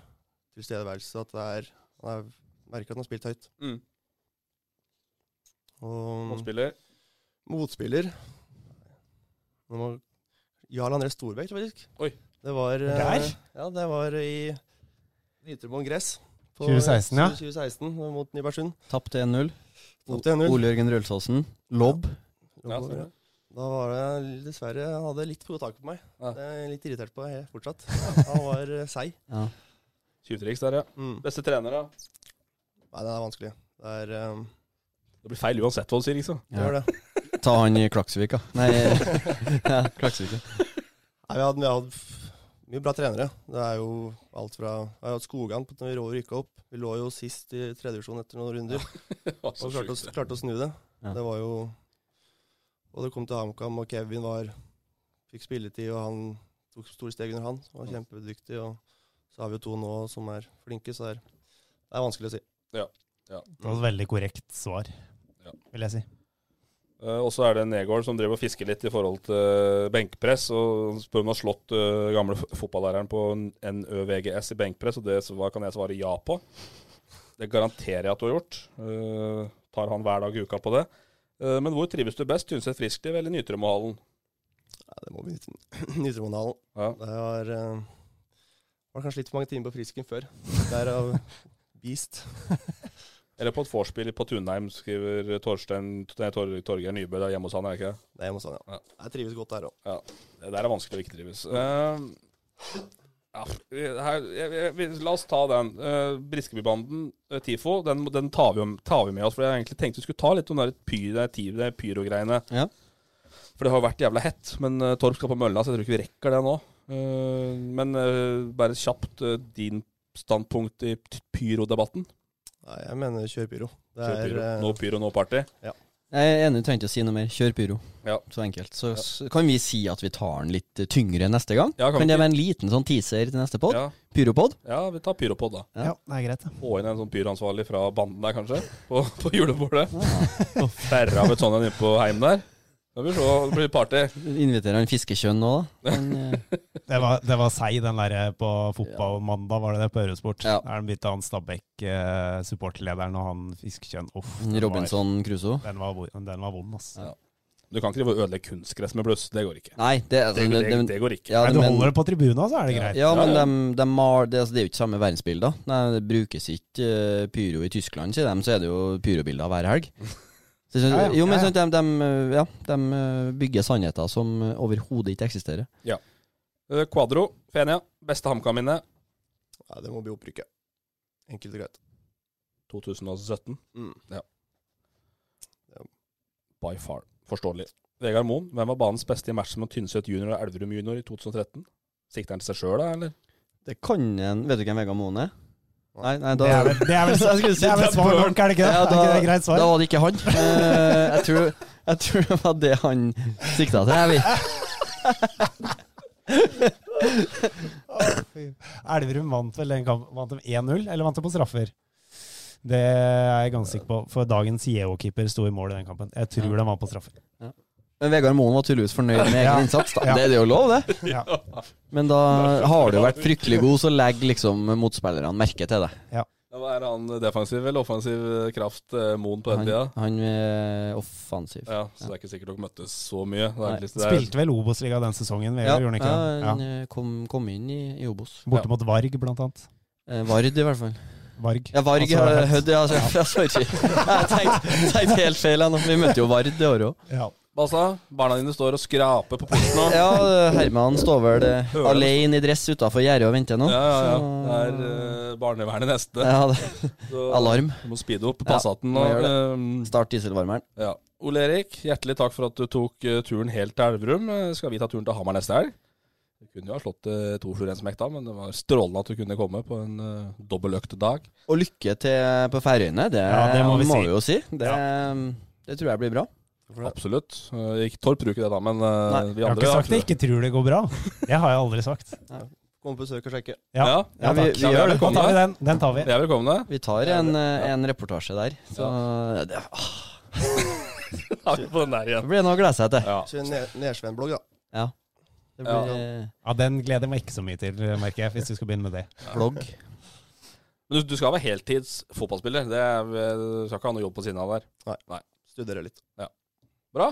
Speaker 6: tilstedeværelse at det er, Han er, merker at han har spilt høyt.
Speaker 3: Mm.
Speaker 6: Og
Speaker 3: Motspiller.
Speaker 6: motspiller Nå må Jarl André Storbekk, faktisk.
Speaker 3: Oi.
Speaker 6: Det var øh,
Speaker 5: Der?
Speaker 6: Ja, det var i Nytremoen gress. på
Speaker 5: 2016, ja.
Speaker 6: 2016 mot Nybergsund.
Speaker 4: Tapt 1-0.
Speaker 6: Mot 1-0.
Speaker 4: Ole Jørgen Rølsåsen. Lobb.
Speaker 3: Ja, stemmer det.
Speaker 6: Da var det dessverre Han hadde litt for godt tak på meg.
Speaker 3: Ja.
Speaker 6: Det er jeg litt irritert på jeg, fortsatt. Han var eh, seig.
Speaker 4: Ja.
Speaker 3: Tjuvtriks der, ja.
Speaker 6: Mm.
Speaker 3: Beste trener, da?
Speaker 6: Nei, den er vanskelig. Det er eh,
Speaker 3: Det blir feil uansett hva du sier, liksom.
Speaker 6: Det var det.
Speaker 4: Ta han i Klaksvik, da. Nei, ja, Klaksvik. ja.
Speaker 6: Nei, vi har hatt- vi har hatt f- mye bra trenere. Det er jo alt fra Vi har hatt Skogan på at vi rå rykka opp. Vi lå jo sist i tredje divisjon etter noen runder. Så klarte å, klarte å snu det.
Speaker 4: Ja.
Speaker 6: Det var jo Og det kom til HamKam, og Kevin var fikk spilletid, og han tok store steg under han. Han var kjempedyktig. Og så har vi jo to nå som er flinke, så det er, det er vanskelig å si.
Speaker 5: Det var et veldig korrekt svar,
Speaker 3: Ja.
Speaker 5: vil jeg si.
Speaker 3: Eh, og så er det Negård som driver og fisker litt i forhold til eh, benkpress. Og han spør om han har slått eh, gamle f- fotballæreren på NØVGS i benkpress, og det sva- kan jeg svare ja på. Det garanterer jeg at du har gjort. Eh, tar han hver dag i uka på det. Eh, men hvor trives du best? Tynset Friskliv eller Nytremohallen?
Speaker 6: Ja, det må bli Nytre- Nytremonhallen.
Speaker 3: Ja.
Speaker 6: Det var, eh, var kanskje litt for mange timer på frisken før. Derav beast.
Speaker 3: Eller på et vorspiel på Tunheim, skriver Torstein nei, Tor, Torgeir Nybø. Det er hjemme hos han, er det ikke det?
Speaker 6: Det er hjemme hos han,
Speaker 3: Ja.
Speaker 6: ja. Jeg trives godt der òg.
Speaker 3: Det der er vanskelig å ikke trives. Eh, ja, vi- her, jeg, jeg, vi- la oss ta den. Eh, Briskebybanden, eh, Tifo, den, må- den tar, vi, om- tar vi med oss. For jeg egentlig tenkte vi skulle ta litt om den der py, det ti- det pyrogreiene.
Speaker 4: Ja.
Speaker 3: For det har vært jævla hett. Men eh, Torp skal på mølla, så jeg tror ikke vi rekker det nå. Eh, men eh, bare kjapt eh, din standpunkt i t- pyrodebatten.
Speaker 6: Nei, jeg mener kjør pyro. Det
Speaker 3: Kjør
Speaker 6: er,
Speaker 3: pyro.
Speaker 6: eh,
Speaker 3: No pyro, no party.
Speaker 4: Jeg er enig, du trenger ikke å si noe mer. Kjør pyro.
Speaker 3: Ja.
Speaker 4: Så enkelt. Så s- kan vi si at vi tar den litt eh, tyngre neste gang?
Speaker 3: Ja, kan
Speaker 4: kan
Speaker 3: vi
Speaker 4: det
Speaker 3: ikke-
Speaker 4: være en liten sånn teaser til neste pod?
Speaker 3: Ja,
Speaker 4: Pyropod?
Speaker 3: ja, vi tar pyropod, da.
Speaker 4: Ja.
Speaker 5: Ja, det er greit. det.
Speaker 3: Få inn en sånn pyroansvarlig fra banden der, kanskje, på, på julebordet. Og Sperre av et sånt en inne på heim der. Da blir det så- det blir party.
Speaker 4: Inviterer han fiskekjønn nå, da? Han, eh,
Speaker 5: Det var, det var seig, den der på fotballmandag, var det det, på Eurosport.
Speaker 4: Ja.
Speaker 5: Der de bytta han Stabæk, eh, supporterlederen, og han fiskekjønn. Uff, den var,
Speaker 4: Robinson Crusoe?
Speaker 5: den var, vo- den var vond, ass.
Speaker 4: Ja.
Speaker 3: Du kan ikke drive og ødelegge kunstgress med bluss. Det går ikke.
Speaker 4: Nei, det, altså,
Speaker 3: Det, det, det,
Speaker 4: det-
Speaker 3: går ikke.
Speaker 4: ja,
Speaker 5: Nei, du
Speaker 4: men-
Speaker 5: holder det på tribuna, så er det greit.
Speaker 4: Ja, men
Speaker 3: Ja, ja.
Speaker 4: dem- dem har, det, altså, det er jo ikke samme verdensbilder. Nei, det brukes ikke eh, pyro i Tyskland, sier dem, så er det jo pyrobilder hver helg. Så, jeg synes-
Speaker 5: Ja, ja.
Speaker 4: jo, men
Speaker 5: Ja, ja.
Speaker 4: sånn, dem, dem, eh, ja, dem eh, bygger sannheter som eh, overhodet ikke eksisterer.
Speaker 3: Eh, Quadro, Fenia, beste HamKam-minne
Speaker 6: Nei, det må bli opprykket. Enkelt og greit.
Speaker 3: 2017.
Speaker 6: Mm.
Speaker 3: By far. Forståelig. Vegard Moen, hvem var banens beste i matchen mot Tynset junior og Elverum junior i 2013? Sikter han til seg sjøl, da, eller?
Speaker 4: Det kan en Vet du hvem Vegard Moen er? Nei, nei,
Speaker 5: Det
Speaker 4: da
Speaker 5: er vel, det er vel,
Speaker 4: Jeg skulle si
Speaker 5: det er vel
Speaker 4: det er
Speaker 5: svar
Speaker 4: Bjørn.
Speaker 5: nok, er det ikke det?
Speaker 4: Ja,
Speaker 5: Er ikke det et greit
Speaker 4: Da
Speaker 5: svar?
Speaker 4: var det ikke han. Eh, jeg, tror, jeg tror det var det han sikta til. Jeg vet.
Speaker 5: Elverum vant vel den kampen. Vant de 1-0, eller vant de på straffer? Det er jeg ganske sikker på, for dagens Yeo-keeper sto i mål i den kampen. Jeg tror de vant på straffer.
Speaker 4: Men Vegard Moen var tydeligvis fornøyd med egen
Speaker 5: Ja.
Speaker 4: innsats. Da.
Speaker 5: Ja.
Speaker 4: Det er jo lov, det.
Speaker 5: Ja.
Speaker 4: Men da har du vært fryktelig god, så legger liksom motspillerne merke til det.
Speaker 3: Ja, hva er han defensiv eller offensiv eh, kraft, eh, Moen, på den
Speaker 4: Han,
Speaker 3: tida?
Speaker 4: han er offensiv.
Speaker 3: Ja, så det er ikke sikkert dere møttes så mye. Det er
Speaker 4: Nei.
Speaker 3: litt- det er-
Speaker 5: Spilte vel Obos-liga den sesongen, Vegard, gjorde han ikke
Speaker 4: ja, han
Speaker 5: det? Ja.
Speaker 4: eh, Kom, kom inn i, i Obos.
Speaker 5: Borte mot Varg, blant annet.
Speaker 4: Eh, Vard, i hvert fall.
Speaker 5: Varg.
Speaker 4: Ja, Varg
Speaker 5: Altså,
Speaker 4: eh,
Speaker 5: Hødd.
Speaker 4: Hødd, ja. så- ja. Sorry. Jeg tenkte, tenkte helt feil. jeg nå. Vi møtte jo Vard det året òg.
Speaker 5: Ja.
Speaker 3: Basta, barna dine står og skraper på porten nå.
Speaker 4: Ja, eh, Herman står vel eh,
Speaker 3: Hører
Speaker 4: alene i dress utafor gjerdet og venter nå.
Speaker 3: Ja, ja, ja.
Speaker 4: Så-
Speaker 3: Det er eh, barnevernet neste.
Speaker 4: Ja, det.
Speaker 3: Så-
Speaker 4: Alarm.
Speaker 3: Du må speede opp
Speaker 4: Ja,
Speaker 3: Passaten.
Speaker 4: må gjøre
Speaker 3: og,
Speaker 4: det.
Speaker 3: ehm,
Speaker 4: Start dieselvarmeren.
Speaker 3: ja. Ole Erik, hjertelig takk for at du tok eh, turen helt til Elverum. Eh, Skal vi ta turen til Hamar neste helg? Du kunne jo ha slått eh, to fluer i en smekk da, men det var strålende at du kunne komme på en uh, dobbeløkt dag.
Speaker 4: Og lykke til på Færøyene, det,
Speaker 5: Ja, det må vi
Speaker 4: må
Speaker 5: si.
Speaker 4: vi jo si. Det, det tror jeg blir bra.
Speaker 6: for det.
Speaker 3: Absolutt. Eh, ikke Torp bruker det, da, men eh,
Speaker 6: Nei,
Speaker 3: vi
Speaker 5: Jeg har
Speaker 3: andre
Speaker 5: ikke sagt jeg ikke tror det går bra. Det har jeg aldri sagt.
Speaker 6: Kom på besøk og sjekke.
Speaker 5: Ja,
Speaker 3: Ja.
Speaker 5: ja
Speaker 4: Ja, vi,
Speaker 5: takk.
Speaker 4: vi gjør det.
Speaker 5: Da tar vi den. Den tar vi.
Speaker 3: Vi er velkomne.
Speaker 4: Vi tar en, eh, en reportasje der. Så det, ah,
Speaker 3: Ja, vi er på den der
Speaker 4: det
Speaker 3: igjen.
Speaker 4: blir noe å glede seg til.
Speaker 3: Ja.
Speaker 6: Så en ne- Nersvenn-blogg, da.
Speaker 4: Det blir
Speaker 5: Ja, Den gleder jeg meg ikke så mye til, merker jeg, hvis vi skal begynne med det.
Speaker 4: blogg.
Speaker 3: Men du, du skal være heltids fotballspiller. Det er, eh, du skal ikke ha noe jobb på siden av der.
Speaker 6: Studere litt.
Speaker 3: Bra.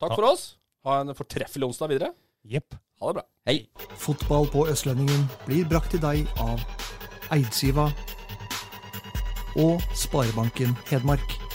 Speaker 3: Takk for oss. Ha en fortreffelig onsdag videre.
Speaker 5: Jepp.
Speaker 3: Ha det bra.
Speaker 1: Fotball på Østlendingen blir brakt til deg av Eidsiva og Sparebanken Hedmark.